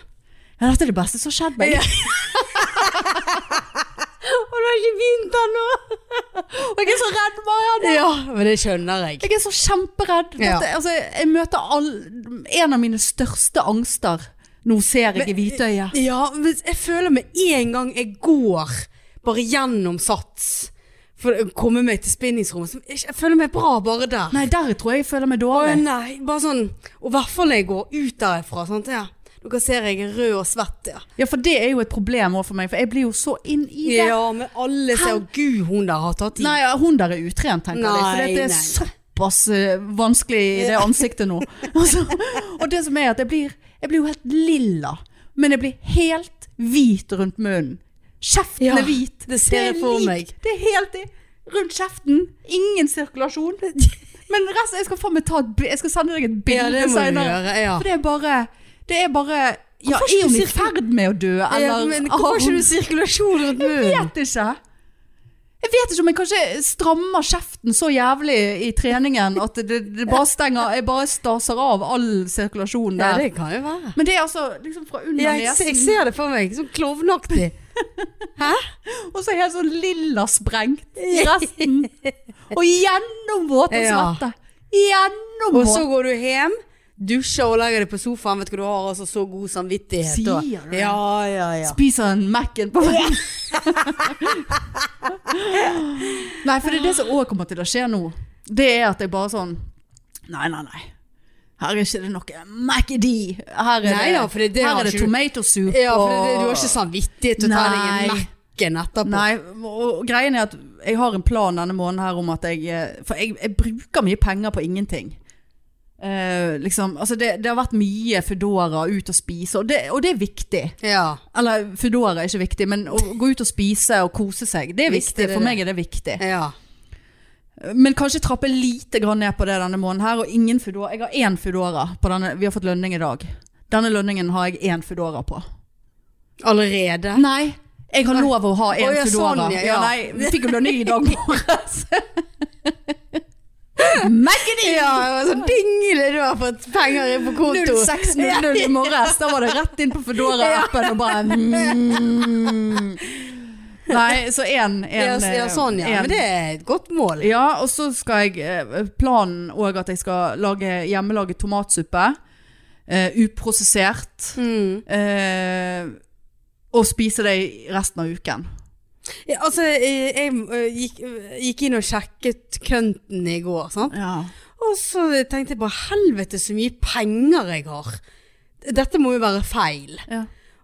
S1: Ja, dette er det beste som har skjedd meg.
S2: Ja. Og du har ikke begynt ennå!
S1: <laughs> Og jeg er så redd, Marianne.
S2: Ja, men det skjønner jeg.
S1: Jeg er så kjemperedd.
S2: Ja.
S1: Dette, altså, jeg møter all, en av mine største angster. Nå ser jeg i hvitøyet.
S2: Ja, men jeg føler med en gang jeg går bare gjennom sats for å komme meg til spinningsrommet, så jeg jeg føler meg bra bare der.
S1: Nei, der tror jeg jeg føler meg
S2: Å
S1: dårlig.
S2: nei, bare sånn Og i hvert fall når jeg går ut derfra. Sant? Ja. Dere ser jeg er rød og svett, ja.
S1: Ja, for det er jo et problem også for meg, for jeg blir jo så inn i det.
S2: Ja, men alle ser jo Gud, hun der har tatt i.
S1: Nei, ja, hun der er utrent, tenker jeg. For
S2: Nei,
S1: det- det er
S2: nei, nei.
S1: såpass eh, vanskelig i det ansiktet
S2: <laughs>
S1: nå. Altså, og det som er at jeg blir, jeg blir jo helt lilla, men jeg blir helt hvit rundt munnen. Kjeften
S2: Ja,
S1: er hvit.
S2: det ser jeg
S1: er
S2: for
S1: lik-
S2: meg.
S1: Det er helt i, rundt kjeften. Ingen sirkulasjon. Men resten, jeg skal faen meg ta et bi- Jeg skal sende deg et
S2: Ja,
S1: bilde
S2: det må du
S1: senere.
S2: gjøre. Ja.
S1: For det er bare, det er bare ja,
S2: Hvorfor ikke
S1: Er hun i
S2: sirkul-
S1: ferd med å dø, eller
S2: ja, men hvorfor
S1: har
S2: har ikke
S1: hun-
S2: du sirkulasjon rundt munnen?
S1: vet ikke. Jeg vet ikke om jeg kanskje strammer kjeften så jævlig i treningen at det, det bare stenger Jeg bare staser av all sirkulasjon
S2: Ja,
S1: der.
S2: det kan jo være.
S1: Men det er altså liksom fra under
S2: Ja, jeg, se- jeg
S1: nesen,
S2: ser det for meg, sånn klovnaktig.
S1: og så er jeg helt sånn
S2: <laughs>
S1: lilla sprengt i resten. Og gjennomvåt og
S2: Ja. Og
S1: svette. Gjennomvåt.
S2: så går du hjem, dusjer og legger deg på sofaen. Vet du hva, du har altså så god samvittighet.
S1: Sier
S2: og-
S1: du det?
S2: Ja, ja, ja.
S1: Spiser en Mac-en på veien. <laughs> nei, for det er det som òg kommer til å skje nå. Det er at jeg bare sånn Nei, nei, nei. Her er ikke det noe Mac-D. Her er
S2: Nei
S1: det,
S2: da, for det- det
S1: her
S2: har
S1: er det
S2: ikke du-
S1: tomato soup
S2: Ja, for
S1: og
S2: det, du har ikke samvittighet til å ta deg en
S1: Nei.
S2: mekken etterpå.
S1: Nei, og og greien er at jeg har en plan denne måneden her om at jeg eh, For jeg, jeg bruker mye penger på ingenting. Eh, liksom, altså det, det har vært mye Foodora, ut og spise, og det, og det er viktig.
S2: Ja.
S1: Eller Foodora er ikke viktig, men å gå ut og spise og kose seg, det er
S2: Visst
S1: viktig.
S2: er det
S1: For
S2: det.
S1: meg er det viktig.
S2: ja.
S1: Men kanskje trappe lite grann ned på det denne måneden her, og ingen Foodora. Jeg har én Foodora på denne, vi har fått lønning i dag. Denne lønningen har jeg én Foodora på.
S2: Allerede?
S1: Nei, jeg har lov å ha én
S2: Å, ja,
S1: Foodora.
S2: sånn, ja,
S1: ja.
S2: ja.
S1: nei, vi fikk jo lønning i dag morges. <laughs> Maggedy!
S2: Ja, sånn dingle du har fått penger inn på konto.
S1: 06.00 i morges, da var det rett inn på Foodora-appen og bare mm. <laughs> Nei, så én
S2: <laughs> Ja, s- ja, sånn ja. Men det er et godt mål.
S1: eh, Ja, og så skal jeg eh, Planen òg at jeg skal lage hjemmelaget tomatsuppe. eh, uprosessert.
S2: Mm.
S1: eh, og spise det i resten av uken.
S2: Ja, altså, eh, jeg eh, gikk, eh, gikk inn og sjekket kønten i går, sant?
S1: Ja.
S2: Og så tenkte jeg på helvete så mye penger jeg har. Dette må jo være feil.
S1: Ja.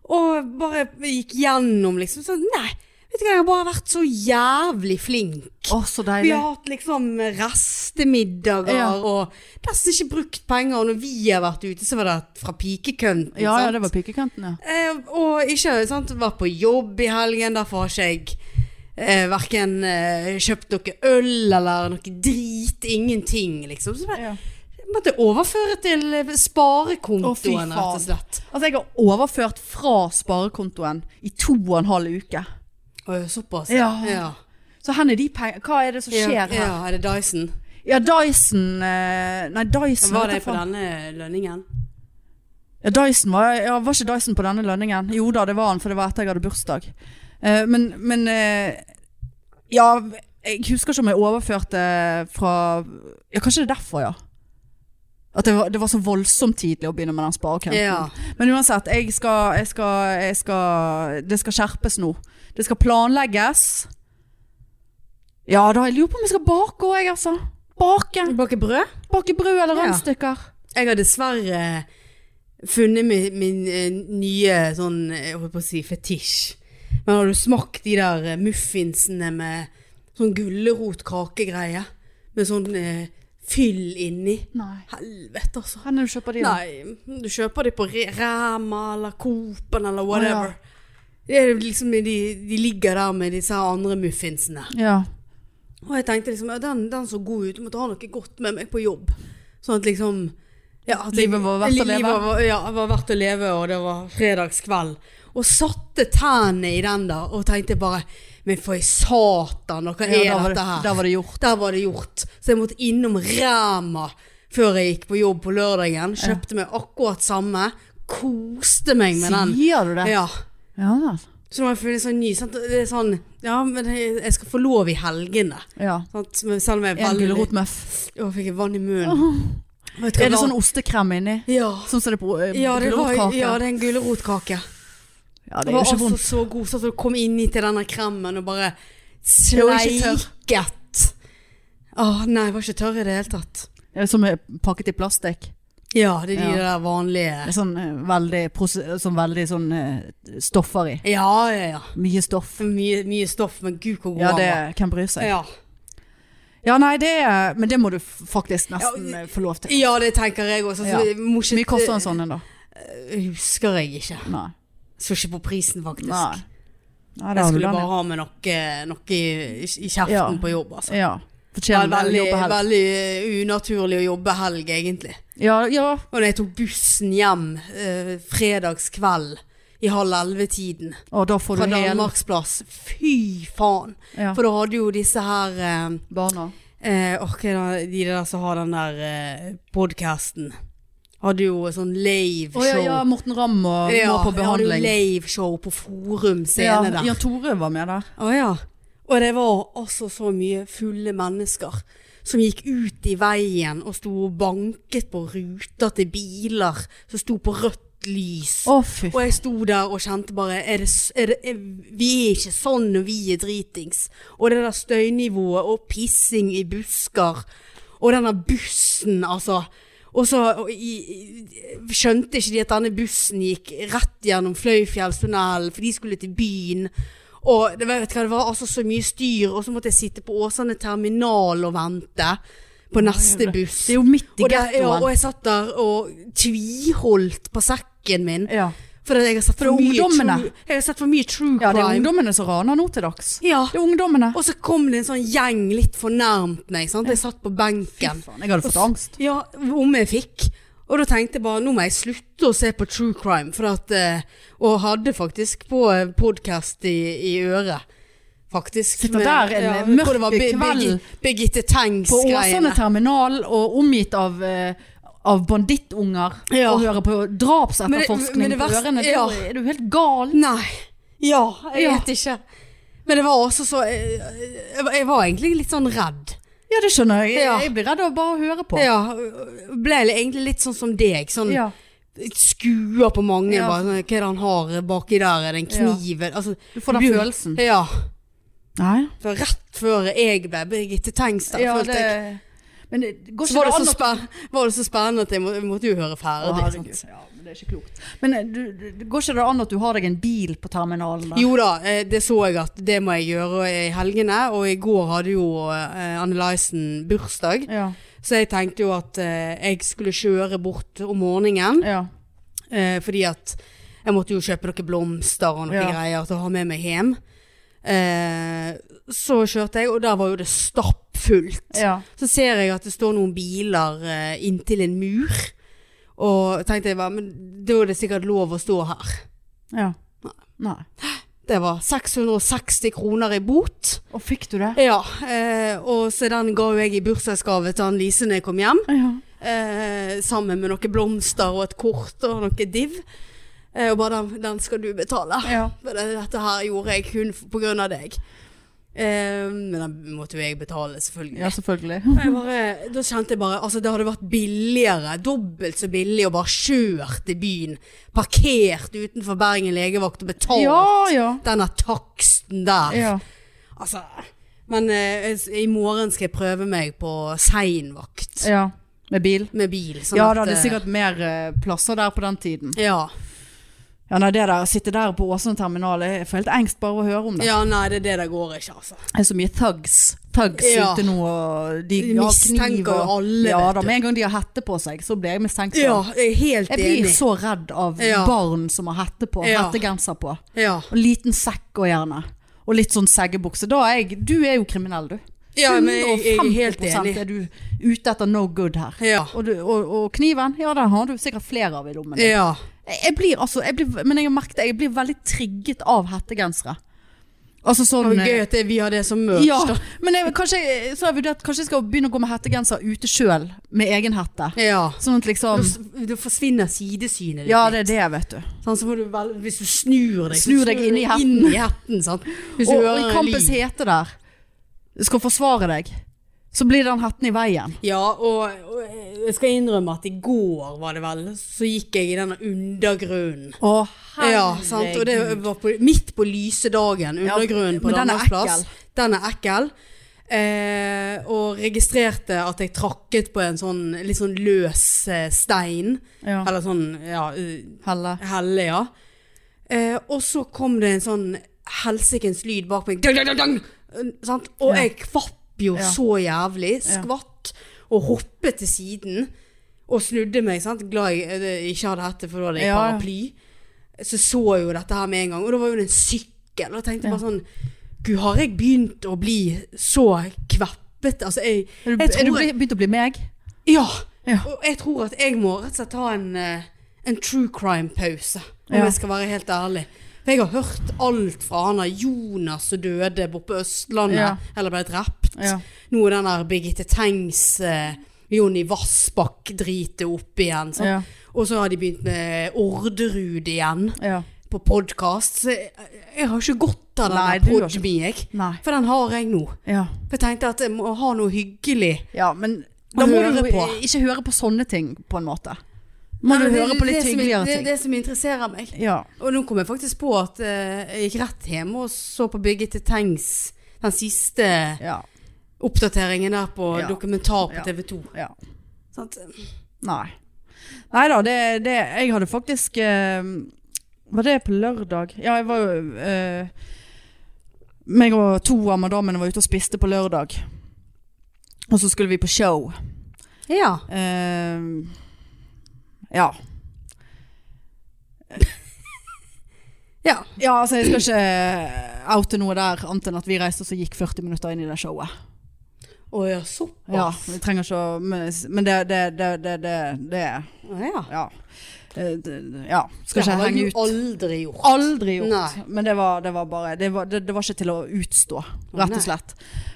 S2: Og bare gikk gjennom liksom sånn, nei, vet du hva, jeg har bare vært så jævlig flink.
S1: Å, så
S2: Vi
S1: deilig.
S2: har hatt liksom restemiddager
S1: Ja.
S2: og nesten ikke brukt penger. Og når vi har vært ute, så var det fra pikekønten.
S1: Ja, ja,
S2: sant?
S1: det var pikekønten, ja.
S2: Eh, og ikke sant, var på jobb i helgen, derfor har ikke jeg eh, verken eh, kjøpt noe øl eller noe drit, ingenting, liksom. Så jeg
S1: ja.
S2: måtte overføre til eh,
S1: Å, fy faen.
S2: sparekontoen, rett og slett.
S1: Altså, jeg har overført fra sparekontoen i to og en halv uke.
S2: Å, såpass.
S1: Ja.
S2: ja.
S1: Så hen er de pengene Hva er det som skjer
S2: Ja,
S1: her? Ja,
S2: ja, er det Dyson?
S1: Dyson eh, Nei, Dyson
S2: Var
S1: vet
S2: det
S1: jeg
S2: på
S1: faen.
S2: denne lønningen?
S1: Ja, Dyson var, ja, var ikke Dyson på denne lønningen? Jo da, det var han, for det var etter jeg hadde bursdag. Eh, men men eh, Ja, jeg husker ikke om jeg overførte fra Ja, kanskje det er derfor, ja. At det var, det var så voldsomt tidlig å begynne med den sparekønten.
S2: Ja.
S1: Men uansett, jeg skal, jeg skal, jeg skal Det skal skjerpes nå. Det skal planlegges. Ja da, jeg lurer på om jeg skal bake òg, jeg, altså. Bake.
S2: Bake brød?
S1: Bake brød eller
S2: Ja.
S1: rundstykker.
S2: Jeg har dessverre funnet min, min eh, nye sånn, eh, jeg holdt på å si, fetisj. Men har du smakt de der eh, muffinsene med sånn gullerotkakegreie? Med sånn eh, fyll inni?
S1: Nei.
S2: Helvete, altså.
S1: Hvor er det du kjøper de? da?
S2: Nei, du kjøper de på Re- Rema eller Coop eller
S1: Å,
S2: whatever.
S1: ja.
S2: Det er liksom, de, de ligger der med disse her andre muffinsene.
S1: Ja.
S2: Og jeg tenkte liksom, ja, den, den så god ut, du måtte ha noe godt med meg på jobb. Sånn at liksom ja, at
S1: Livet var verdt å
S2: livet
S1: leve.
S2: Var, ja, var verdt å leve, og det var fredagskveld. Og satte tennene i den der, og tenkte bare Men for i satan, og hva er
S1: ja, da var
S2: dette her?
S1: Da var det gjort.
S2: Der var det gjort. Så jeg måtte innom Rema før jeg gikk på jobb på lørdagen. Kjøpte meg akkurat samme. Koste meg med den.
S1: Sier du det?
S2: Ja.
S1: Ja vel.
S2: Så nå har jeg funnet en sånn ny sant? Det er sånn Ja, men jeg jeg skal få lov i helgene.
S1: Ja.
S2: Sant? Men Selv om jeg er
S1: En
S2: veldig
S1: gulrotmøff.
S2: Å, fikk jeg vann i munnen.
S1: Åh.
S2: Vet du hva
S1: Er det
S2: var-
S1: sånn ostekrem inni?
S2: Ja.
S1: Sånn som det er på eh,
S2: Ja, det var,
S1: gulrotkake?
S2: ja, det er en gulrotkake.
S1: Ja,
S2: Det
S1: det er
S2: var
S1: jo ikke
S2: altså
S1: vondt.
S2: så god, sånn at du kom inn i til denne kremmen og bare
S1: Det var ikke tørr.
S2: sleiket. Åh, nei, jeg var ikke tørr i det hele tatt.
S1: Det er Som er pakket eh, i plastikk.
S2: Ja, det er de
S1: Ja.
S2: der vanlige
S1: Det er Sånn eh, veldig, prose- sånn veldig sånn eh, stoffer i.
S2: Ja, ja, ja.
S1: Mye stoff.
S2: Mye, mye stoff, men gud hvor god
S1: Ja,
S2: han
S1: det
S2: var.
S1: Hvem bryr seg?
S2: Ja.
S1: Ja, nei, det er Men det må du f- faktisk nesten
S2: Ja,
S1: eh, få lov til.
S2: ja, det tenker jeg også. Så
S1: Ja.
S2: jeg må ikke-
S1: Hvor mye koster en sånn en, da?
S2: Husker jeg ikke.
S1: Nei.
S2: Så ikke på prisen, faktisk.
S1: Nei. Nei, det
S2: Jeg
S1: har du
S2: skulle bare
S1: den.
S2: ha med noe, noe i, i kjeften
S1: Ja.
S2: på jobb, altså.
S1: Ja.
S2: Det
S1: Fortjener
S2: var
S1: det å
S2: veldig,
S1: jobbe helg.
S2: veldig eh, unaturlig å jobbe helg, egentlig.
S1: Ja, ja.
S2: Og da jeg tok bussen hjem eh, fredagskveld i halv elleve-tiden
S1: Og da får
S2: fra
S1: du hel
S2: Danmarksplass, fy faen!
S1: ja.
S2: For da hadde jo disse her eh,
S1: barna.
S2: eh, åh, hva er det, De der som har den der eh, podkasten, hadde jo sånn
S1: Å ja,
S2: lave-show.
S1: ja, Morten Ramm og
S2: Ja,
S1: må
S2: jeg
S1: på
S2: hadde jo
S1: behandling.
S2: lave-show på Forum
S1: Ja,
S2: scene der.
S1: Jan Tore var med der.
S2: Å ja. Og det var altså så mye fulle mennesker som gikk ut i veien og sto og banket på ruter til biler som sto på rødt lys.
S1: Å, fy.
S2: Og jeg sto der og kjente bare er det, s- er det, er, Vi er ikke sånn når vi er dritings. Og det der støynivået og pissing i busker. Og denne bussen, altså. Og så og i, i- skjønte ikke de at denne bussen gikk rett gjennom Fløyfjellstunnelen, for de skulle til byen. Og det, vet du hva, det var altså så mye styr, og så måtte jeg sitte på Åsane terminal og vente på neste buss.
S1: Det er jo midt i
S2: og, det, ja, og
S1: gettoen.
S2: jeg satt der og tviholdt på sekken min.
S1: Ja.
S2: Fordi jeg har sett for,
S1: det er
S2: mye
S1: ungdommene.
S2: true, jeg har sett for mye true
S1: ja, det er
S2: crime.
S1: ungdommene som raner nå til dags.
S2: Ja.
S1: Det er ungdommene.
S2: Og så kom det en sånn gjeng litt for nærmt meg. Sant? Jeg satt på
S1: Fy
S2: benken.
S1: faen, jeg hadde fått angst.
S2: Ja, om jeg fikk. Og da tenkte jeg bare nå må jeg slutte å se på true crime. For at, eh, og hadde faktisk på podkast i, i øret. Faktisk.
S1: Sitter der en
S2: jeg tror det
S1: mørk
S2: var Bi-
S1: kveld
S2: Birgi- Birgitte
S1: På
S2: Tengs-greiene.
S1: Åsane terminal og omgitt av, eh, av bandittunger
S2: Ja.
S1: og hører på
S2: Men
S1: drapsetterforskning
S2: det- men det
S1: på
S2: verste-
S1: ørene.
S2: ja.
S1: Ja. Er du helt gal?
S2: Nei. Ja, jeg
S1: Ja.
S2: vet ikke. Men det var også så eh, Jeg var- jeg var egentlig litt sånn redd.
S1: Ja, det skjønner jeg.
S2: Ja.
S1: Jeg, jeg blir redd av bare å høre på.
S2: Ja, ble jeg egentlig litt sånn som deg. Sånn
S1: Ja.
S2: skuer på mange.
S1: Ja.
S2: Bare, sånn, hva er det han har baki der? Er det en kniv? Altså,
S1: Du får den
S2: blir-
S1: følelsen.
S2: Ja.
S1: Nei.
S2: For rett før jeg ble Birgitte Tengs, der,
S1: Ja,
S2: følte
S1: det...
S2: jeg.
S1: Men det går
S2: Så
S1: ikke
S2: var det,
S1: an
S2: så
S1: å-
S2: spen- var det så spennende at jeg, må, jeg måtte jo høre
S1: Å,
S2: ferdig.
S1: herregud.
S2: sant?
S1: Ja, men det er ikke klokt. Men eh, du, du, det går ikke det an at du har deg en bil på terminalen? der?
S2: Jo da, eh, det så jeg at det må jeg gjøre i helgene. Og i går hadde jo eh, Anne Lysen bursdag,
S1: Ja.
S2: så jeg tenkte jo at eh, jeg skulle kjøre bort om morgenen.
S1: ja.
S2: Eh, fordi at jeg måtte jo kjøpe noen blomster og noen
S1: Ja.
S2: greier til å ha med meg hjem. Eh, så kjørte jeg, og der var jo det stappfullt.
S1: ja.
S2: Så ser jeg at det står noen biler eh, inntil en mur. Og tenkte jeg bare, men da er det sikkert lov å stå her.
S1: ja. Nei.
S2: Det var 660 kroner i bot.
S1: Og fikk du det?
S2: Ja, eh, og så den ga jo jeg i bursdagsgave til han Lise når jeg kom hjem.
S1: Ja.
S2: eh, sammen med noen blomster og et kort og noe div. Eh, og bare den, den skal du betale.
S1: ja.
S2: For det- Dette her gjorde jeg kun f- på grunn av deg. Eh, men den måtte jo jeg betale, selvfølgelig.
S1: <laughs> Ja, selvfølgelig.
S2: Og Jeg bare, da kjente jeg bare Altså, det hadde vært billigere, dobbelt så billig, å bare kjørt til byen. Parkert utenfor Bergen legevakt og betalt
S1: Ja, ja.
S2: denne taksten der.
S1: ja.
S2: Altså Men eh, i morgen skal jeg prøve meg på seinvakt
S1: ja. Med bil?
S2: med bil. sånn
S1: ja
S2: at,
S1: da, det er
S2: eh,
S1: sikkert mer eh, plasser der på den tiden.
S2: Ja.
S1: Ja, nei, det der, Å sitte der på Åsane terminal, jeg får helt engst bare å høre om det.
S2: ja, nei, det er det det går ikke, altså.
S1: Det er så mye thugs, thugs
S2: Ja.
S1: ute nå, og de,
S2: De
S1: har
S2: mistenker
S1: kniv og-
S2: jo alle,
S1: Ja
S2: vet
S1: da,
S2: du.
S1: med en gang de har hette på seg, så blir jeg mistenksom.
S2: Ja, jeg er helt
S1: Jeg blir
S2: enig.
S1: så redd av
S2: Ja.
S1: barn som har hette på,
S2: Ja.
S1: hettegenser på.
S2: Ja.
S1: Og liten sekk og gjerne. Og litt sånn seggebukse. Da er jeg Du er jo kriminell, du.
S2: ja, men jeg, jeg er helt
S1: 150%
S2: enig.
S1: er du ute etter no good her.
S2: Ja.
S1: Og, du, og, og kniven, ja den har du sikkert flere av i lommen. din.
S2: ja.
S1: Jeg- Jeg blir altså, jeg blir, men jeg har merket det, jeg blir veldig trigget av hettegensere. Altså
S2: Det
S1: sånn eh,
S2: var gøy at det- vi har det som merch.
S1: Ja,
S2: da.
S1: men jeg, kanskje, så har jeg vurdert Kanskje jeg skal begynne å gå med hettegenser ute sjøl, med egen hette.
S2: ja.
S1: Sånn at liksom
S2: Da, da forsvinner sidesynet ditt.
S1: Ja,
S2: litt.
S1: det er det, vet du.
S2: sånn, så må du vel, hvis du snur deg, så
S1: Snur deg inn i hatten.
S2: inn i hatten, sant? Hvis du
S1: Og, og
S2: hører
S1: i
S2: en
S1: kampens
S2: lyd.
S1: hete der skal forsvare deg, så blir den hetten i veien.
S2: Ja, og, og jeg skal innrømme at i går var det vel, så gikk jeg i denne undergrunnen.
S1: Å,
S2: Ja, sant? og det var på, midt på lyse dagen, undergrunnen
S1: men
S2: på
S1: den er
S2: Danmarksplass.
S1: ekkel.
S2: Den er ekkel. Eh, og registrerte at jeg trakket på en sånn litt sånn løs eh, stein.
S1: Ja.
S2: Eller sånn, ja, eh,
S1: Helle.
S2: helle, ja. Eh, og så kom det en sånn helsikens lyd bak meg. Dang, dang, dang, dang! Eh, sant? Og
S1: Ja.
S2: jeg kvapp jo
S1: Ja.
S2: så jævlig.
S1: Ja.
S2: Skvatt og hoppet til siden. Og snudde meg, sant? glad jeg eh, ikke hadde hette, for da hadde jeg
S1: Ja, ja.
S2: paraply. Så så jeg jo dette her med en gang. Og da var jo det en sykkel. Og jeg tenkte
S1: Ja.
S2: bare sånn Gud, har jeg begynt å bli så kveppet? Altså, jeg,
S1: Er du,
S2: jeg tror
S1: er du bli- begynt å bli meg?
S2: ja.
S1: Ja.
S2: Og jeg tror at jeg må rett og slett ta en, eh, en true crime-pause, om
S1: Ja.
S2: jeg skal være helt ærlig. For jeg har hørt alt fra han der Jonas som døde borte på Østlandet,
S1: Ja.
S2: eller ble drept.
S1: Ja.
S2: Nå er den der Birgitte Tengs eh, Jonny Vassbakk-dritet opp igjen. sant?
S1: Ja.
S2: Og så har de begynt med Orderud igjen
S1: ja.
S2: på podkast. Så jeg, jeg har ikke godt av
S1: Nei,
S2: den
S1: du
S2: der
S1: har ikke-
S2: Podme, jeg.
S1: Nei.
S2: For den har jeg nå.
S1: Ja.
S2: For jeg tenkte at jeg må ha noe hyggelig.
S1: Ja, men
S2: Da må du høre på.
S1: ikke høre på sånne ting, på en måte.
S2: Nei,
S1: Må du
S2: men det-
S1: høre på litt
S2: det
S1: altså.
S2: som-
S1: hyggeligere
S2: det-
S1: ting.
S2: Det som interesserer meg.
S1: Ja.
S2: Og nå kom jeg faktisk på at eh, jeg gikk rett hjemme og så på Birgitte Tengs den siste
S1: ja.
S2: oppdateringen der på
S1: Ja.
S2: dokumentar på
S1: Ja.
S2: TV 2.
S1: Ja.
S2: Sant?
S1: Nei. Nei da, det, det Jeg hadde faktisk eh, Var det på lørdag? Ja, jeg var jo eh, Meg og to av madammene var ute og spiste på lørdag. Og så skulle vi på show.
S2: Ja.
S1: Eh, ja.
S2: ja.
S1: Ja, altså jeg skal ikke oute noe der annet enn at vi reiste oss og gikk 40 minutter inn i det showet.
S2: Å ja,
S1: Ja,
S2: såpass.
S1: vi trenger ikke å Men men det, det, det, det, det, det
S2: Å ja.
S1: Ja. Eh, det- ja. Skal
S2: Det
S1: ikke
S2: har
S1: henge
S2: jeg
S1: ut.
S2: jo aldri gjort.
S1: Aldri gjort.
S2: Nei.
S1: Men det var, det var bare det var, det, det var ikke til å utstå, rett
S2: nei.
S1: og slett.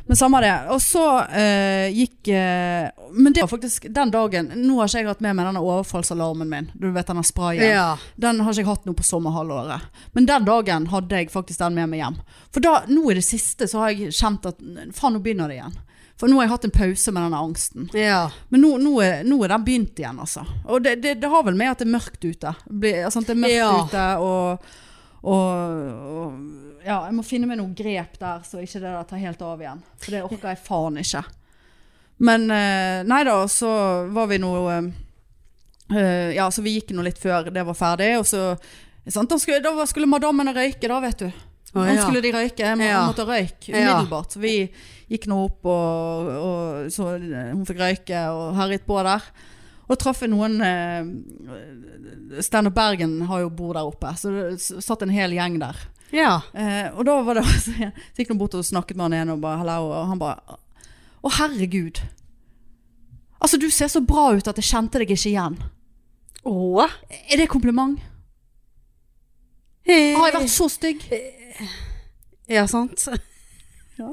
S1: Men samme det. Og så eh, gikk eh, Men det var faktisk den dagen Nå har ikke jeg hatt med meg denne overfallsalarmen min. Du vet denne sprayen.
S2: Ja.
S1: Den har ikke jeg hatt nå på sommerhalvåret. Men den dagen hadde jeg faktisk den med meg hjem. For da, nå i det siste så har jeg kjent at faen, nå begynner det igjen. For nå har jeg hatt en pause med denne angsten.
S2: ja.
S1: Men nå, nå, er, nå er den begynt igjen, altså. Og det, det, det har vel med at det er mørkt ute. Blir, altså, at det er mørkt
S2: Ja.
S1: ute, og, og, og Ja, jeg må finne meg noen grep der, så ikke det der tar helt av igjen. For det orker jeg faen ikke. Men eh, nei da, så var vi nå eh, eh, Ja, så vi gikk nå litt før det var ferdig, og så sant? Da skulle, da skulle madammene røyke, da, vet du.
S2: Å,
S1: Nå
S2: ja.
S1: skulle de røyke. Jeg må,
S2: Ja.
S1: måtte røyke
S2: Ja.
S1: umiddelbart. Så vi gikk nå opp, og, og så eh, hun fikk røyke og herjet på der. Og traff jeg noen eh, Stein og Bergen har jo bor der oppe, så det s- satt en hel gjeng der.
S2: ja.
S1: Eh, og da var det <laughs> så jeg- så gikk hun bort og snakket med han ene og bare hallo, og han bare Å, herregud. Altså, du ser så bra ut at jeg kjente deg ikke igjen.
S2: Å?
S1: Er det et kompliment? Har jeg vært så stygg?
S2: Eh, Ja, sant?
S1: Ja.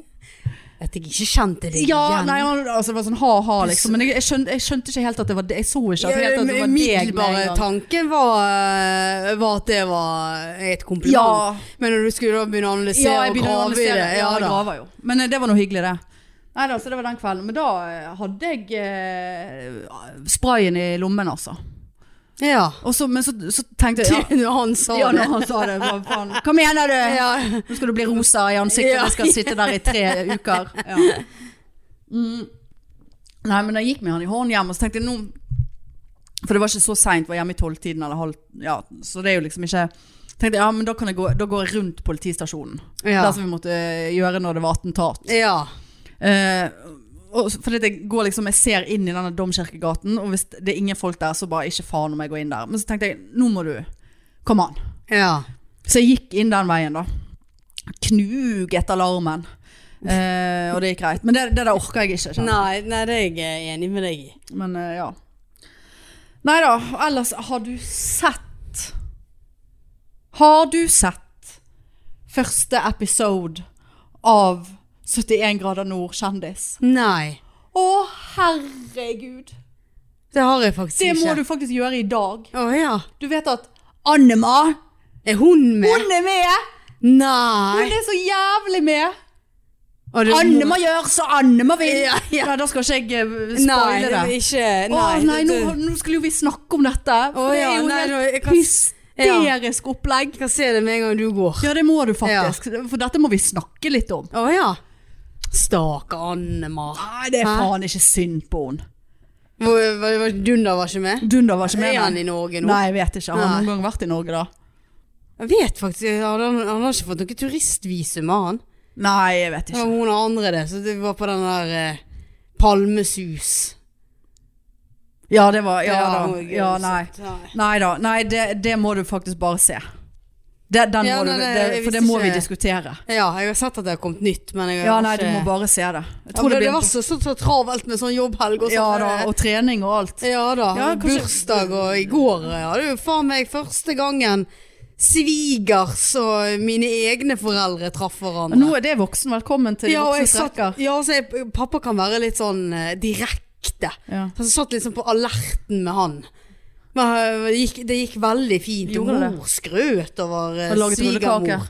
S2: At jeg ikke kjente det
S1: Ja,
S2: igjen.
S1: nei, han, altså, det var sånn ha-ha, liksom. Men jeg, jeg, skjønte, jeg skjønte ikke helt at det var det. Jeg så ikke at det, helt at det var deg med
S2: Umiddelbare
S1: en gang.
S2: tanken var, eh, var at det var et kompliment.
S1: Ja.
S2: Men når du skulle da begynne å analysere
S1: Ja, jeg
S2: og
S1: begynner å
S2: grave i
S1: analysere.
S2: det
S1: Ja,
S2: ja,
S1: jeg
S2: da.
S1: graver jo. Men eh, det var noe hyggelig, det. Nei da, så det var den kvelden. Men da eh, hadde jeg eh, sprayen i lommen, altså.
S2: ja.
S1: Og så, men så, så tenkte jeg ja, <laughs>
S2: Når han sa
S1: ja,
S2: <laughs> det.
S1: når han sa det, hva faen. Hva mener du?
S2: Ja.
S1: <laughs> Nå skal du bli rosa i ansiktet,
S2: Ja.
S1: og vi skal sitte der i <laughs> tre uker. Ja. Mm. Nei, men jeg gikk med han i hånden hjem, og så tenkte jeg nå For det var ikke så seint, var hjemme i tolvtiden eller halv Ja, så det er jo liksom ikke Tenkte jeg, ja, men da, kan jeg gå, da går jeg rundt politistasjonen.
S2: Ja.
S1: Der som vi måtte eh, gjøre når det var attentat.
S2: ja.
S1: Eh, og, fordi at jeg går liksom, jeg ser inn i denne domkirkegaten, og hvis det er ingen folk der, så bare ikke faen om jeg går inn der. Men så tenkte jeg, nå må du Kom an.
S2: ja.
S1: Så jeg gikk inn den veien da Knuget alarmen eh, Og det gikk greit Men det, det der orker jeg ikke kjenner.
S2: Nei, nei, det er jeg eh, enig med deg i.
S1: Men eh, ja Neida, ellers har du sett Har du sett Første episode Av 71 grader nord kjendis
S2: Nei.
S1: Å herregud
S2: Det har jeg faktisk
S1: Det må
S2: ikke.
S1: du faktisk gjøre i dag
S2: Å ja.
S1: Du vet at Annema
S2: Er hun med?
S1: Hun er med
S2: Nei.
S1: Hun er så jævlig med
S2: Å, det-
S1: Anne må gjøre så Anne må vinne.
S2: Ja, ja.
S1: Nei, da skal ikke jeg eh,
S2: Nei,
S1: spoile det.
S2: ikke
S1: Å nei, nå,
S2: det-
S1: nå skulle jo vi snakke om dette.
S2: Å,
S1: For det
S2: ja,
S1: er jo
S2: nei,
S1: helt
S2: da- jeg kan-
S1: hysterisk opplegg.
S2: Jeg kan se det med en gang du går.
S1: Ja, det må du faktisk. For dette må vi snakke litt om.
S2: Å ja. Stakkar Annemar.
S1: Nei, det er
S2: Hæ?
S1: faen ikke synd på henne.
S2: Hvor- var- var- Dunder var ikke med?
S1: Dunder var ikke med.
S2: Er han
S1: nei.
S2: i Norge nå?
S1: Nei, jeg vet ikke. Har han
S2: Nei.
S1: noen gang vært i Norge da?
S2: Jeg vet faktisk Han, han, han har ikke fått noe turistvisum av han.
S1: Nei, jeg vet
S2: Det
S1: ikke.
S2: var hun og andre det, så det var på den der eh, Palmesus.
S1: Ja, det var Ja,
S2: hun
S1: da.
S2: er
S1: Ja,
S2: gul,
S1: nei.
S2: så- nei.
S1: Nei da. Nei, det, det må du faktisk bare se. Det, den
S2: Ja,
S1: må
S2: nei,
S1: du,
S2: nei,
S1: det,
S2: jeg
S1: for det
S2: visste
S1: må vi
S2: ikke-
S1: diskutere.
S2: Ja, jeg har sett at det har kommet nytt, men jeg har
S1: Ja, nei, du
S2: ikke
S1: må bare se det. Jeg
S2: ja, men
S1: tror det
S2: det, var
S1: blir
S2: så, så, så travelt med sånn jobbhelg og
S1: Ja
S2: sånn.
S1: da, og trening og alt.
S2: ja, da.
S1: Ja,
S2: og
S1: kanskje-
S2: Bursdag og i går eh, hadde jo faen meg første gangen svigers og mine egne foreldre traff hverandre.
S1: Nå er det voksen velkommen til
S2: ja, og jeg
S1: voksnes
S2: satt,
S1: rekker.
S2: ja, så jeg, pappa kan være litt sånn eh, direkte.
S1: Ja.
S2: Så jeg satt liksom på alerten med han. Men eh, det gikk, det gikk veldig fint. Og
S1: Gjorde det?
S2: mor skrøt over eh,
S1: Og laget rullekake.
S2: svigermor.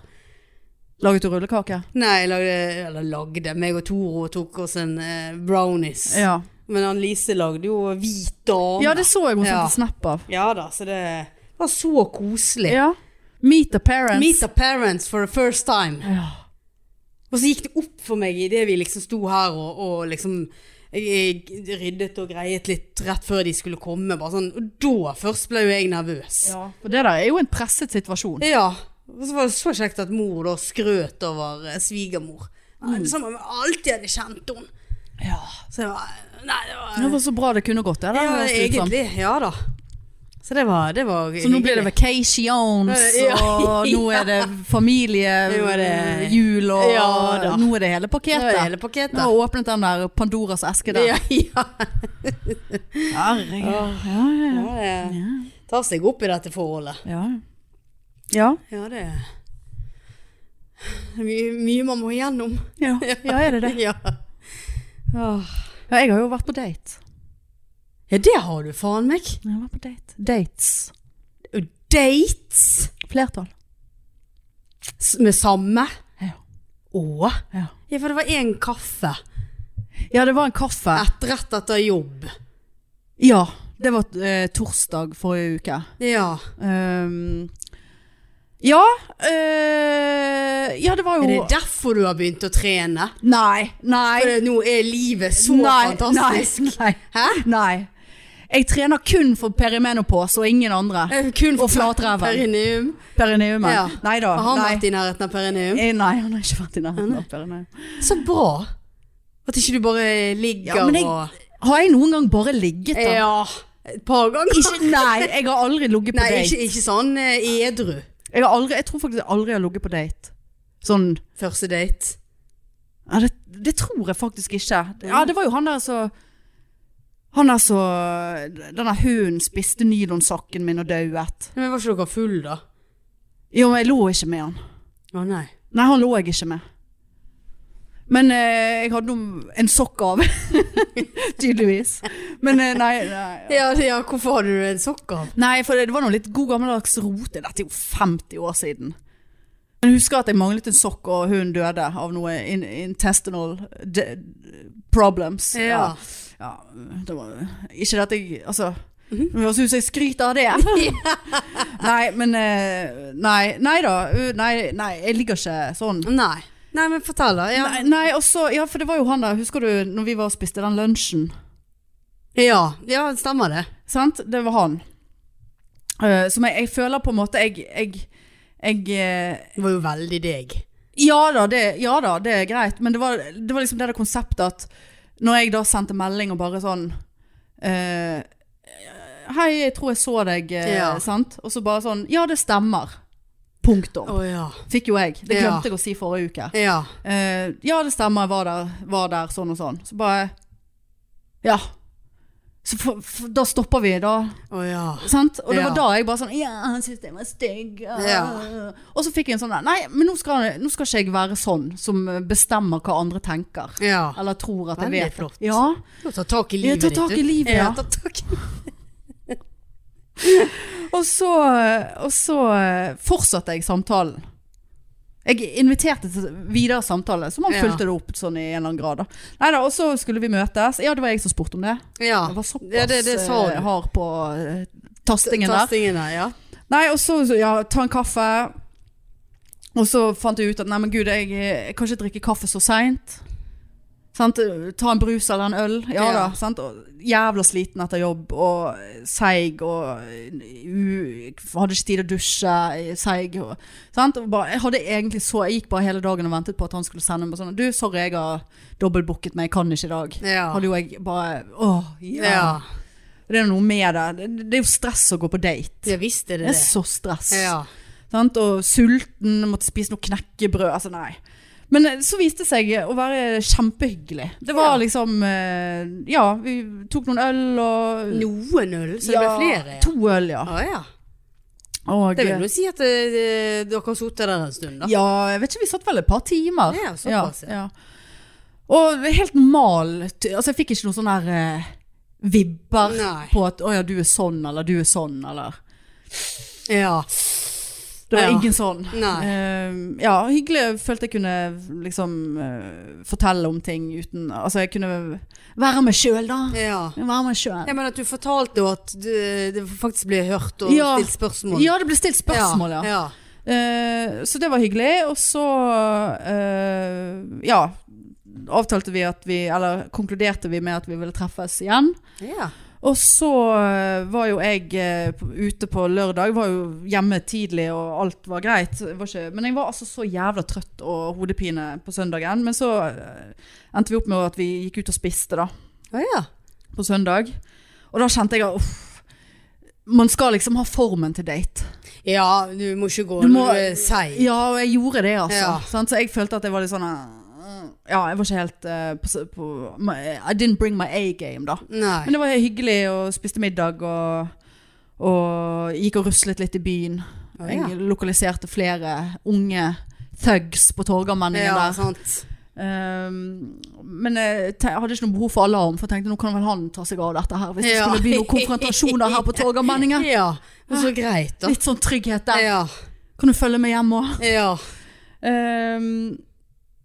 S1: Laget du rullekake?
S2: Nei, jeg lagde, eller lagde. Meg og Toro tok oss en eh, brownies.
S1: Ja.
S2: Men han Lise lagde jo hvit dame.
S1: ja, det så jeg hun
S2: Ja.
S1: sendte snap av.
S2: Ja da, så det var så koselig.
S1: Ja. Meet the parents.
S2: Meet the parents for the first time.
S1: Ja.
S2: Og så gikk det opp for meg idet vi liksom sto her og, og liksom jeg, jeg ryddet og greiet litt rett før de skulle komme. Bare sånn, og da først ble jo jeg nervøs.
S1: ja. For det der er jo en presset situasjon.
S2: Ja. Og så var det så kjekt at mor da skrøt over eh, svigermor. Nei,
S1: Mm.
S2: Det samme med alt jeg hadde kjent henne.
S1: Ja.
S2: Så jeg var, nei, det var,
S1: Det var så bra det kunne gått. Det, det
S2: ja,
S1: høres det ut som.
S2: egentlig. Ja da. Så det var, det var
S1: Så nå blir det
S2: hyggelig.
S1: vacations, <laughs>
S2: Ja.
S1: og nå er det <laughs> familie,
S2: Nå er det-
S1: jul, og
S2: Ja da.
S1: nå er det hele
S2: Det var
S1: paketet.
S2: hele pakketet.
S1: Nå har jeg åpnet den der Pandoras eske der.
S2: Ja, ja.
S1: Herregud. Ja, ja, ja.
S2: det tar seg opp i dette forholdet.
S1: ja. Ja,
S2: Ja, det er mye, mye man må igjennom.
S1: <laughs> ja. ja, er det det?
S2: Ja. Åh.
S1: Ja, jeg har jo vært på date.
S2: ja, det har du faen meg.
S1: Jeg har vært på date. Dates.
S2: Og Dates
S1: Flertall.
S2: s- med samme.
S1: Ja.
S2: Å.
S1: Ja.
S2: Ja, for det var én kaffe.
S1: ja, det var en kaffe.
S2: Ett rett etter jobb.
S1: Ja, det var eh, torsdag forrige uke.
S2: Ja.
S1: Ehm, ja, eh, ja, det var jo
S2: Er det derfor du har begynt å trene?
S1: Nei, nei.
S2: For det- nå er livet så
S1: nei,
S2: fantastisk.
S1: Nei, <laughs>
S2: Hæ?
S1: nei, nei. Jeg trener kun for perimenopause og ingen andre.
S2: Eh, Kun
S1: Og flatreven.
S2: Perineum.
S1: Perineum.
S2: Ja.
S1: Nei da.
S2: Har han
S1: nei.
S2: vært i nærheten av perineum?
S1: Eh, Nei, han har ikke vært i nærheten av perineum.
S2: Så bra. At ikke du bare ligger
S1: Ja, men jeg-
S2: og
S1: Har jeg noen gang bare ligget da?
S2: Ja. Et par ganger.
S1: Ikke, nei, jeg har aldri ligget på
S2: Nei,
S1: date.
S2: ikke, ikke sånn eh, edru.
S1: Jeg, har aldri, jeg tror faktisk jeg aldri har ligget på date. Sånn
S2: Første date.
S1: Ja, det, det tror jeg faktisk ikke. Ja, det var jo han der så Han der så Den der hunden spiste nylonsokken min og dauet.
S2: Men var ikke dere full da?
S1: Jo, men jeg lå ikke med han.
S2: Å nei.
S1: Nei, han lå jeg ikke med. Men eh, jeg hadde noe- en sokk av. <laughs> Tydeligvis. Men eh, nei, nei.
S2: Ja, ja, hvorfor hadde du en sokk av?
S1: Nei, for det, det var noe litt god gammeldags rote. Dette er jo 50 år siden. Men jeg husker at jeg manglet en sokk, og hun døde av noe in intestinal de problems.
S2: Ja.
S1: Ja, det var Ikke at jeg Altså Det høres ut som jeg skryter av det. nei, men eh, Nei, nei da. uh, Nei, nei, jeg ligger ikke sånn.
S2: Nei. Nei, men fortell da. Ja,
S1: Nei, nei og så Ja, for det var jo han der, husker du når vi var og spiste den lunsjen?
S2: ja, ja stemmer det.
S1: Sant? Det var han. Eh, som jeg, jeg føler på en måte Jeg, jeg, jeg eh,
S2: Det var jo veldig deg.
S1: Ja da, det, ja da, det er greit. Men det var, det var liksom det der konseptet at når jeg da sendte melding og bare sånn eh, Hei, jeg tror jeg så deg, eh,
S2: Ja.
S1: sant? Og så bare sånn Ja, det stemmer. Punktum.
S2: Å ja.
S1: Fikk jo jeg. Det
S2: Ja.
S1: glemte jeg å si forrige uke.
S2: Ja.
S1: Eh, ja, det stemmer, jeg var der, var der, sånn og sånn. Så bare Ja. Så for, for, da stopper vi, da.
S2: Å ja.
S1: Sant? Og det
S2: Ja.
S1: var da jeg bare sånn Ja, han syntes jeg var stygg. ah».
S2: Ja.
S1: Og så fikk jeg en sånn der, Nei, men nå skal, nå skal ikke jeg være sånn som bestemmer hva andre tenker.
S2: Ja.
S1: Eller tror at jeg
S2: Veldig
S1: vet.
S2: flott.
S1: Ja.
S2: Du har tatt tak i
S1: Ja,
S2: livet
S1: ta tak i
S2: du.
S1: livet, ja.
S2: ta tak i-
S1: Og så, og så eh, fortsatte jeg samtalen. Jeg inviterte til videre samtale, så man
S2: Ja.
S1: fulgte det opp sånn i en eller annen grad. da. Neida, og så skulle vi møtes. Ja, det var jeg som spurte om det.
S2: Ja.
S1: Jeg var såpass
S2: Ja, det, det sa
S1: eh,
S2: du.
S1: hard på eh, tastingen der.
S2: Tastingen der, ja.
S1: Nei, og så så- ja, ta en kaffe. Og så fant jeg ut at nei, men gud, jeg, jeg kan ikke drikke kaffe så seint. Sant? Ta en brus eller en øl. Ja,
S2: Ja.
S1: da. Sant? Og jævla sliten etter jobb og seig og u, Hadde ikke tid å dusje. Seig. og- Sant? Og bare, jeg, hadde egentlig så, jeg gikk bare hele dagen og ventet på at han skulle sende meg sånn Du, sorry, jeg har dobbeltbooket meg, jeg kan ikke i dag.
S2: Ja.
S1: Hadde jo jeg bare Åh, ja.
S2: Ja.
S1: Det er noe med det. det. Det er jo stress å gå på date.
S2: ja visst er
S1: Det
S2: det
S1: er
S2: det.
S1: så stress.
S2: Ja.
S1: Sant? Og sulten, måtte spise noe knekkebrød. Altså, nei. Men eh, så viste det seg å være kjempehyggelig. Det var
S2: Ja.
S1: liksom eh, Ja, vi tok noen øl og
S2: Noen øl, så det
S1: ja,
S2: ble flere.
S1: To øl, ja.
S2: Å ja.
S1: Og,
S2: Det vil jo si at eh, dere har sittet der en stund, da.
S1: ja, jeg vet ikke, vi satt vel et par timer.
S2: Ja, såpass, ja.
S1: ja. Og helt normal t- Altså, jeg fikk ikke noe sånn der eh, vibber
S2: Nei.
S1: på at 'Å ja, du er sånn', eller 'du er sånn', eller
S2: Ja.
S1: Det var
S2: Ja.
S1: ingen sånn.
S2: Nei.
S1: Eh, ja, hyggelig. Jeg følte jeg kunne liksom eh, fortelle om ting uten Altså, jeg kunne være meg sjøl, da.
S2: Ja.
S1: Være meg sjøl.
S2: Jeg mener at du fortalte jo at du, det faktisk ble hørt og
S1: Ja.
S2: stilt spørsmål.
S1: Ja, det ble stilt spørsmål, ja.
S2: ja.
S1: Eh, så det var hyggelig. Og så eh, Ja. Avtalte vi at vi Eller konkluderte vi med at vi ville treffes igjen.
S2: Ja.
S1: Og så eh, var jo jeg eh, på- ute på lørdag, var jo hjemme tidlig og alt var greit. Jeg Var ikke, men jeg var altså så jævla trøtt og hodepine på søndagen. Men så eh, endte vi opp med at vi gikk ut og spiste da,
S2: Å ja.
S1: på søndag. Og da kjente jeg at uff, man skal liksom ha formen til date.
S2: Ja, du må ikke gå
S1: Du må-
S2: når du er seig.
S1: Ja, og jeg gjorde det altså.
S2: Ja.
S1: sant? Så jeg følte at jeg var litt sånn eh, Ja, jeg var ikke helt eh, på, s- på I didn't bring my A-game da. Men
S2: Nei.
S1: det var hyggelig og spiste middag og, og gikk og ruslet litt i byen.
S2: Å, ja.
S1: Jeg lokaliserte flere unge thugs på Torgallmenningen
S2: Ja,
S1: der.
S2: sant.
S1: Um, men jeg te- hadde ikke noe behov for alarm, for jeg tenkte nå kan vel han ta seg av dette her. Hvis det
S2: Ja.
S1: skulle bli noen konfrontasjoner
S2: <laughs>
S1: her på Torgallmenningen.
S2: Ja. Men så greit, da.
S1: Litt sånn trygghet der.
S2: Ja.
S1: Kan du følge med hjem òg?
S2: Ja.
S1: Um,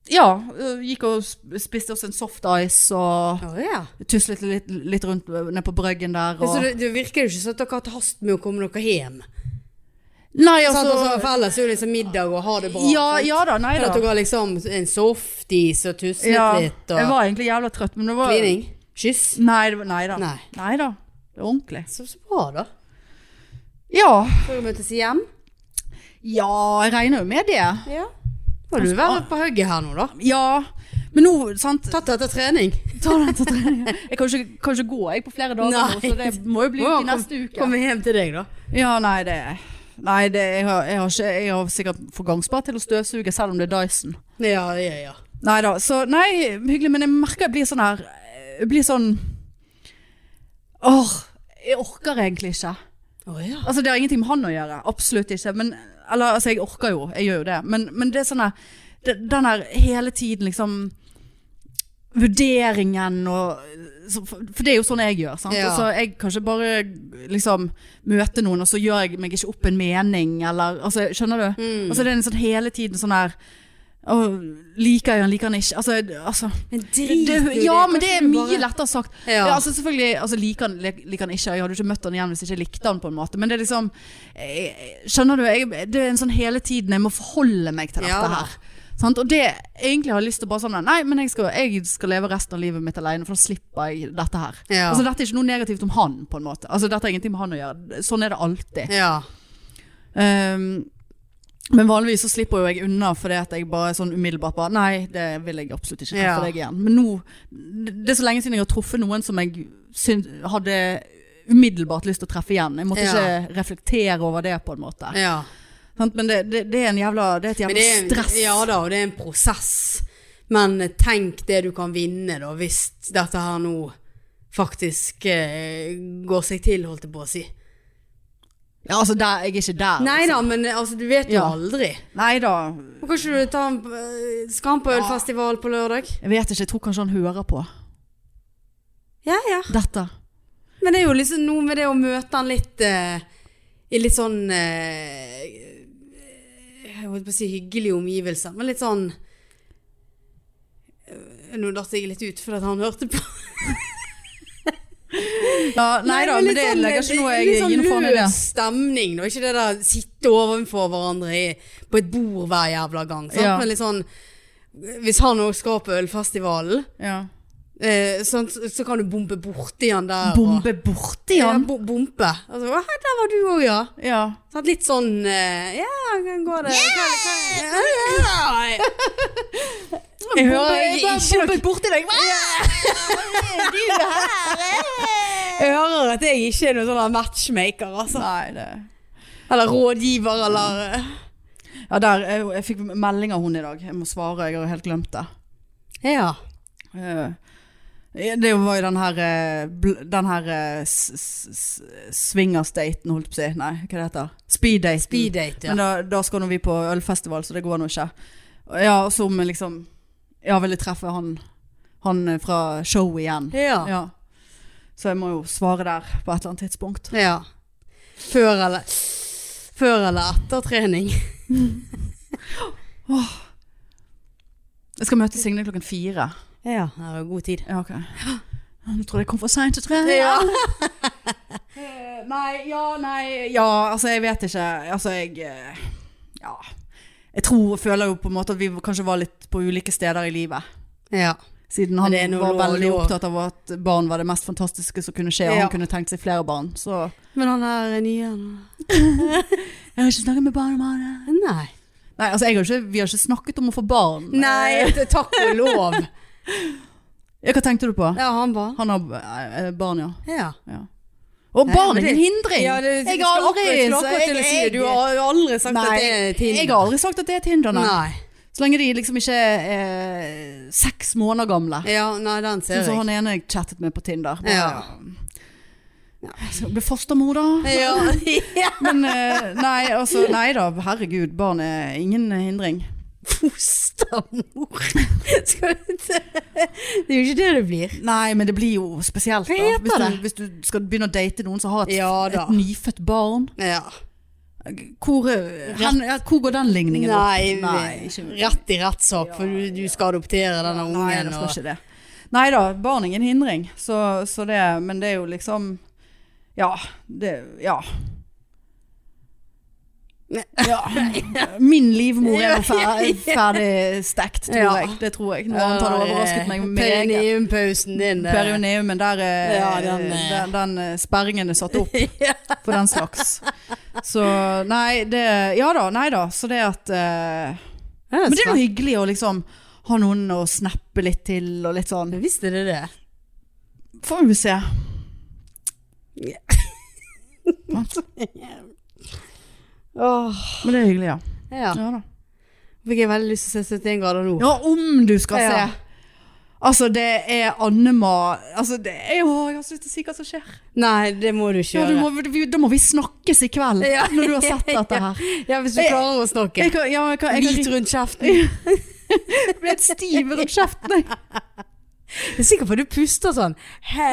S1: ja. øh, Gikk og sp- spiste oss en soft ice og
S2: Å ja.
S1: tuslet litt, litt rundt øh, nede på Brøggen der.
S2: Så
S1: Og,
S2: det, det virker jo ikke sånn at dere har hatt hast med å komme dere hjem.
S1: nei,
S2: Sant,
S1: altså
S2: altså, for ellers er det liksom middag og ha det bra.
S1: Ja,
S2: sant?
S1: ja da, nei
S2: Men
S1: da.
S2: at dere har liksom en softis og tuslet
S1: Ja,
S2: litt
S1: jeg
S2: og
S1: var egentlig jævla trøtt, men det var
S2: klining. Kyss.
S1: Nei, det var, nei da.
S2: Nei.
S1: Nei da. Det var ordentlig.
S2: Så, så bra, da.
S1: Ja.
S2: Før vi møtes hjem.
S1: ja, jeg regner jo med det.
S2: Ja. Altså, ah. Må du være på hugget her nå, da.
S1: Ja. Men nå, sant
S2: Tatt etter trening.
S1: Ta den til trening. Jeg kan ikke, kan ikke gå jeg på flere dager nå,
S2: Nei.
S1: så det må jo bli ut i neste uke.
S2: Kommer hjem til deg, da.
S1: Ja, nei, det Nei, det, jeg, har, jeg, har ikke, jeg har sikkert forgangsbar til å støvsuge, selv om det er Dyson.
S2: Ja, ja, ja.
S1: Nei da. Så nei, hyggelig, men jeg merker jeg blir sånn her Jeg blir sånn Åh, jeg orker egentlig ikke.
S2: Å ja.
S1: Altså, det har ingenting med han å gjøre. Absolutt ikke. Men, eller, altså, jeg orker jo. Jeg gjør jo det. Men, men det er sånn her det- Den her hele tiden, liksom Vurderingen og så- For for det er jo sånn jeg gjør. Sant?
S2: Ja.
S1: Altså, jeg kan ikke bare liksom møte noen, og så gjør jeg meg ikke opp en mening, eller altså, Skjønner du?
S2: Mm.
S1: Altså, det er en sånn hele tiden sånn her «Åh, Liker jeg han, liker han ikke? Altså, altså
S2: Men
S1: det,
S2: jo i
S1: det, ja,
S2: Kanskje
S1: men det er
S2: du
S1: mye
S2: bare-
S1: lettere sagt.
S2: Ja.
S1: Ja. altså selvfølgelig altså, liker, han, lik- liker han ikke. Jeg hadde jo ikke møtt han igjen hvis jeg ikke likte han på en måte. Men det er liksom jeg, jeg- Skjønner du? Jeg, det er en sånn hele tiden jeg må forholde meg til dette
S2: Ja da.
S1: her. Sant? Og det egentlig har jeg lyst til å bare sånn Nei, men jeg skal, jeg skal leve resten av livet mitt alene, for da slipper jeg dette her.
S2: Ja.
S1: Altså Dette er ikke noe negativt om han, på en måte. Altså Dette har ingenting med han å gjøre. Sånn er det alltid.
S2: Ja.
S1: Ehm, men vanligvis så slipper jo jeg unna fordi at jeg bare sånn umiddelbart bare Nei, det vil jeg absolutt ikke
S2: Ja.
S1: treffe deg igjen. Men nå Det er så lenge siden jeg har truffet noen som jeg syn- hadde umiddelbart lyst til å treffe igjen. Jeg måtte
S2: Ja.
S1: ikke reflektere over det på en måte.
S2: ja.
S1: Sant? Men det, det, det er en jævla Det er et
S2: Men
S1: jævla
S2: det er en,
S1: stress.
S2: Ja da, og det er en prosess. Men eh, tenk det du kan vinne, da, hvis dette her nå faktisk eh, går seg til, holdt jeg på å si.
S1: Ja, altså, der, jeg er ikke der.
S2: Nei da, men eh, altså, du vet jo
S1: Ja.
S2: aldri.
S1: Nei da.
S2: Men Kan ikke du ta en eh, Skal han på ølfestival på lørdag?
S1: Jeg vet ikke. Jeg tror kanskje han hører på
S2: Ja, ja.
S1: dette.
S2: Men det er jo liksom noe med det å møte han litt eh, i litt sånn eh, Jeg holdt på å si hyggelige omgivelser, men litt sånn Eh, Nå datt jeg litt ut fordi at han hørte på.
S1: Ja, nei,
S2: <laughs>
S1: da, men det legger ikke noe jeg gir noe
S2: sånn eh,
S1: faen i
S2: Litt
S1: det.
S2: sånn løs stemning, da. Ikke det der sitte ovenfor hverandre i, på et bord hver jævla gang. Sant?
S1: Ja.
S2: Men litt sånn Hvis han òg skal på ølfestivalen,
S1: Ja.
S2: eh, sant, så, så kan du bombe borti han der. og-
S1: Bombe borti
S2: Ja,
S1: han.
S2: bo bombe. Altså, «Å, hei, der var du òg, ja.
S1: Ja.
S2: Sant, litt sånn eh, Ja, hvordan går det? Hva- hva- ja, ja, ja. Jeg hører
S1: Bombe-
S2: ikke noe-
S1: bombet borti deg.
S2: Jeg hører at jeg ikke er noen sånn matchmaker, altså.
S1: Nei, det
S2: Eller rådgiver, eller eh.
S1: Ja, der, jeg, jeg fikk melding av hun i dag. Jeg må svare, jeg har helt glemt det.
S2: Ja.
S1: Eh, Det var jo den her eh, bl- Den her eh, s- s- s- swingersdaten, holdt på å si. Nei, hva det heter Speeddaten.
S2: Speeddate, ja.
S1: Men da, da skal nå vi på ølfestival, så det går nå ikke. Ja, som liksom Ja, ville treffe han, han fra showet igjen.
S2: Ja.
S1: Ja. Så jeg må jo svare der på et eller annet tidspunkt.
S2: ja. Før eller Før eller etter trening.
S1: Jeg skal møte Signe klokken fire.
S2: Ja, det er jo god tid.
S1: Ja, ok. Nå trodde jeg kom for seint til trening.
S2: Ja.
S1: <laughs> Eh, Nei, ja, nei Ja, altså jeg vet ikke Altså jeg eh, Ja Jeg tror og føler jo på en måte at vi kanskje var litt på ulike steder i livet
S2: ja.
S1: Siden
S2: Men
S1: han
S2: det er noe
S1: var
S2: lov-
S1: veldig
S2: lov.
S1: opptatt av at barn var det mest fantastiske som kunne skje Og
S2: Ja.
S1: han kunne tenkt seg flere barn Så jeg
S2: Men han der nye han-
S1: har ikke snakket med barn om han
S2: Nei.
S1: Nei, altså jeg har ikke, vi har ikke snakket om å få barn <laughs>
S2: Nei, takk og lov.
S1: Eh, Hva tenkte du på?
S2: Ja, han bare
S1: Han har eh, eh, barn, ja,
S2: Ja.
S1: ja. Og
S2: Nei,
S1: barn
S2: men
S1: er
S2: det-
S1: ingen hindring
S2: Ja, det,
S1: Jeg
S2: jeg
S1: har
S2: skal
S1: aldri
S2: akkurat, jeg skulle
S1: så
S2: akkurat til å
S1: jeg-
S2: si det. Du
S1: jeg-
S2: har aldri sagt
S1: Nei,
S2: at det er Tinder.
S1: jeg har aldri sagt at det er et hinder nei.
S2: Nei.
S1: Så lenge de liksom ikke er seks måneder gamle.
S2: Ja, nei, den
S1: Sånn
S2: ser
S1: som
S2: jeg.
S1: han ene jeg chattet med på Tinder.
S2: Ja.
S1: Så Ble fostermor, da.
S2: Ja,
S1: <laughs>
S2: ja.
S1: Men eh, nei, altså, nei da. Herregud, barn er ingen hindring.
S2: Fostermor. <laughs> Skal du se. Det er jo ikke det det blir.
S1: Nei, men det blir jo spesielt.
S2: Hva
S1: da
S2: heter
S1: Hvis du,
S2: det?
S1: hvis du skal begynne å date noen som har et,
S2: Ja da.
S1: et nyfødt barn.
S2: Ja.
S1: Hvor, eh, hen, ja, hvor går den ligningen
S2: Nei,
S1: opp? Nei, ikke-
S2: rett i rettssak, for du, du skal adoptere denne
S1: Nei,
S2: ungen.
S1: det skal
S2: og-
S1: ikke det. Nei da, barn er ingen hindring. Så, så det, men det er jo liksom Ja. Det, ja.
S2: Ne-
S1: ja.
S2: <laughs>
S1: Min livmor er jo fer,
S2: Ja.
S1: ferdig stekt, tror
S2: Ja.
S1: jeg. Det tror jeg. Noe annet hadde overrasket meg meget.
S2: Perineum-pausen din. eh. det-
S1: Perineum, der er-
S2: Ja, den
S1: den,
S2: er-
S1: den eh, sperringen er
S2: <laughs>
S1: satt opp for den slags. Så nei, det Ja da, nei da. Så det at eh,
S2: Ja,
S1: Men det er
S2: spennende.
S1: jo hyggelig å liksom ha noen å snappe litt til, og litt sånn.
S2: Visst er det det.
S1: Får vi se.
S2: Ja.
S1: Men det er hyggelig, ja.
S2: Ja.
S1: Ja, da.
S2: Fikk jeg veldig lyst til å se 71 grader nå.
S1: ja om du skal
S2: Ja.
S1: se. Altså, det er Annema Altså, det er jo Jeg har så lyst til å si hva som skjer.
S2: Nei, det må du ikke
S1: Ja, du
S2: gjøre.
S1: må, vi, da må vi snakkes i kveld,
S2: Ja.
S1: når du har sett dette her.
S2: <laughs> Ja, hvis du
S1: Jeg-
S2: klarer å snakke.
S1: Jeg kan, ja, jeg kan, jeg
S2: Hvit
S1: kan
S2: rundt kjeften.
S1: jeg ble
S2: <laughs>
S1: helt stiv rundt kjeften, jeg.
S2: Jeg er sikker på at du puster sånn.
S1: Ja,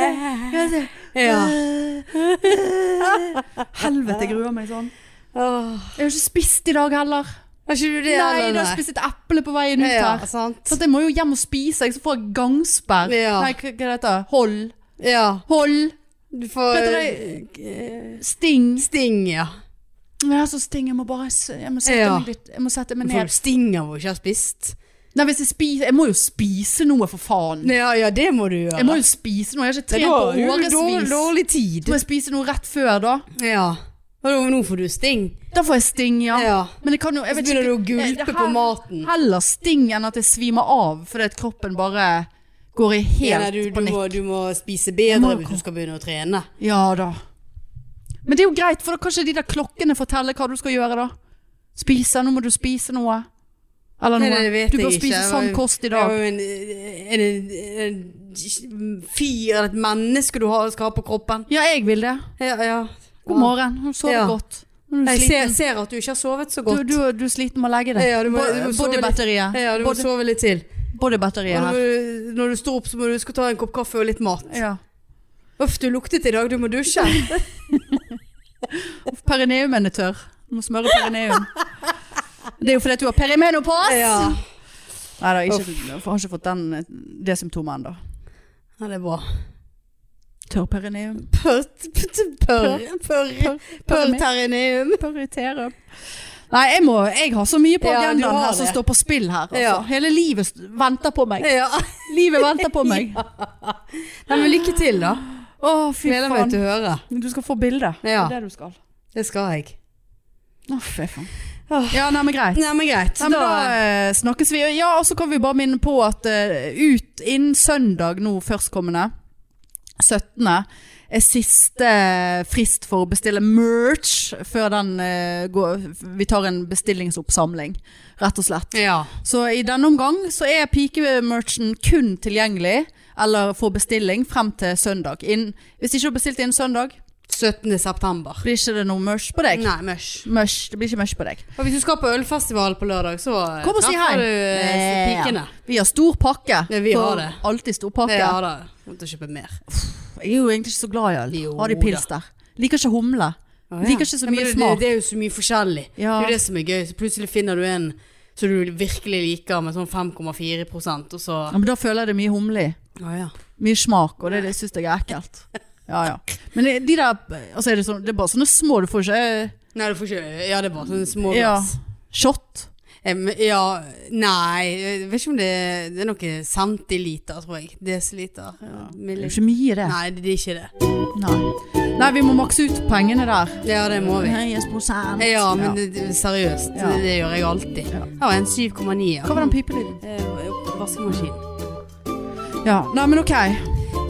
S1: det-
S2: Ja.
S1: <laughs> Helvete, jeg gruer meg sånn.
S2: Åh,
S1: Jeg har ikke spist i dag heller.
S2: Har ikke du det?
S1: Nei,
S2: eller
S1: da har jeg spist et eple på veien ut
S2: Ja,
S1: her.
S2: sant.
S1: Så jeg må jo hjem og spise, jeg, så får jeg gangsperr.
S2: Ja.
S1: Nei, hva hva heter det? Hold.
S2: Ja.
S1: Hold.
S2: Du får
S1: Vet
S2: eh,
S1: Sting.
S2: Sting, ja.
S1: Men jeg er så sting, jeg må bare s- jeg må sette,
S2: Ja.
S1: meg, litt, jeg må sette meg
S2: Men får du
S1: ned.
S2: sting av å ikke ha spist?
S1: Nei, hvis jeg spiser Jeg må jo spise noe, for faen.
S2: Ja, ja, det må du gjøre.
S1: Jeg må jo spise noe. Jeg har ikke
S2: Nei,
S1: trent
S2: da
S1: på
S2: har du
S1: årevis.
S2: dårlig, dårlig
S1: Så
S2: tid.
S1: må jeg spise noe rett før, da.
S2: Ja. Og da- nå får du sting.
S1: Da får jeg sting, ja.
S2: Ja.
S1: Men jeg kan jo jeg
S2: Så
S1: vet
S2: begynner du å
S1: ikke-
S2: gulpe
S1: Eh, det
S2: på maten.
S1: Heller sting enn at jeg svimer av fordi at kroppen bare går i
S2: Ja,
S1: helt
S2: nei, du, du,
S1: panikk.
S2: må, du må spise
S1: må
S2: bedre hvis
S1: komme-
S2: du skal begynne å trene.
S1: Ja da. Men det er jo greit, for da kan ikke de der klokkene fortelle hva du skal gjøre, da. Spise, nå må du spise noe. Eller
S2: Nei,
S1: noe.
S2: nei, det vet
S1: du bør
S2: jeg ikke.
S1: spise
S2: Jeg
S1: sånn
S2: var-
S1: kost i
S2: Det er
S1: dag.
S2: jo en, en, en, en fyr eller et menneske du har, skal ha på kroppen.
S1: Ja, jeg vil det.
S2: Ja, ja.
S1: God morgen. Hun sover
S2: Ja.
S1: godt. Nå er Du
S2: Jeg ser,
S1: sliten.
S2: ser at du ikke har sovet så
S1: Du,
S2: godt.
S1: du, du er sliten med å legge deg.
S2: Ja, du må-
S1: Bo-
S2: du må sove litt.
S1: Bodybatteriet.
S2: ja, du må
S1: Body-
S2: sove litt til. Og
S1: Bodybatteriet
S2: når,
S1: her.
S2: du, når du står opp, så må du huske å ta en kopp kaffe og litt mat.
S1: Ja.
S2: Uff, du luktet i dag. Du må dusje.
S1: Perineumen er tørr. Du må smøre perineum. Det er jo fordi at du har perimenopause!
S2: Ja.
S1: Nei da, ikke, jeg har ikke fått den, eh, det symptomet ennå.
S2: ja, det er bra.
S1: Tørr perineum.
S2: Pørr pørr- pørr-
S1: Pørr-
S2: Pørrterineum.
S1: Pørr i terum. Nei, jeg, må, jeg har så mye på
S2: Ja, du
S1: agendaen
S2: har
S1: her som
S2: det.
S1: står på spill her. Altså.
S2: Ja.
S1: Hele livet st- venter på <laughs> meg.
S2: Ja.
S1: Livet venter på meg.
S2: Nei, men lykke til, da.
S1: Å, fy
S2: Gleder meg
S1: faen.
S2: til å høre.
S1: Du skal få bilde.
S2: Ja.
S1: Det er det du skal.
S2: Det skal jeg.
S1: Å, fy faen.
S2: Åh.
S1: Ja, nei, men greit.
S2: Nei, men greit.
S1: Nei, men da eh, snakkes vi. Ja, og så kan vi bare minne på at eh, ut innen søndag nå førstkommende, 17. er siste eh, frist for å bestille merch før den eh, går Vi tar en bestillingsoppsamling, rett og slett.
S2: ja.
S1: Så i denne omgang så er pikemerchen kun tilgjengelig eller for bestilling frem til søndag. Innen, hvis ikke du har bestilt innen søndag,
S2: 17. september.
S1: blir ikke det noe merch på deg.
S2: Nei, mush.
S1: Merch, det blir ikke merch på deg.
S2: Og hvis du skal på ølfestival på lørdag, så eh,
S1: Kom og si hei.
S2: treffer du eh,
S1: Ja.
S2: pikene.
S1: Vi har stor pakke.
S2: Ja, vi har
S1: For
S2: det.
S1: Alltid stor pakke.
S2: Ja da. Må til å kjøpe mer.
S1: Jeg er jo egentlig ikke så glad i øl.
S2: Jo
S1: har de pils der? Liker ikke humle. Liker ikke så
S2: Nei, men
S1: mye
S2: det-
S1: smak.
S2: Det, det er jo så mye forskjellig.
S1: Ja.
S2: Det er jo det som er gøy. Så plutselig finner du en som du virkelig liker, med sånn 5,4 og så
S1: Ja, men da føler jeg det er mye humle i.
S2: Å ja.
S1: Mye smak, og det, det syns jeg
S2: <laughs>
S1: er ekkelt. Ja, ja. Men det- de der altså er det, sånn, det er bare sånne små Du får ikke
S2: Nei, du får ikke Ja, det er bare sånne små
S1: eh, ja,
S2: glass.
S1: Shot.
S2: Em, ja Nei, jeg vet ikke om det Det er noe centiliter, tror jeg. Desiliter.
S1: Det er jo
S2: Milli-
S1: ikke mye, det.
S2: Nei, det er ikke det.
S1: Nei. Nei, vi må makse ut pengene der.
S2: Ja, det må vi.
S1: Høyest prosent.
S2: Ja, men det- det- seriøst.
S1: Ja.
S2: Det, det gjør jeg alltid.
S1: Ja.
S2: Jeg har en 7,9. ja.
S1: Hva var den pipelyden?
S2: Eh, Vaskemaskin.
S1: Ja. Nei, men ok.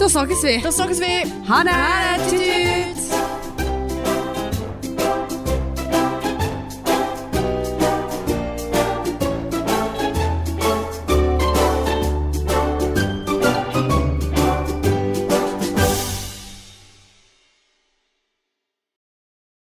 S2: Da snakkes vi.
S1: Da snakkes vi.
S2: Ha det! Tut-tut!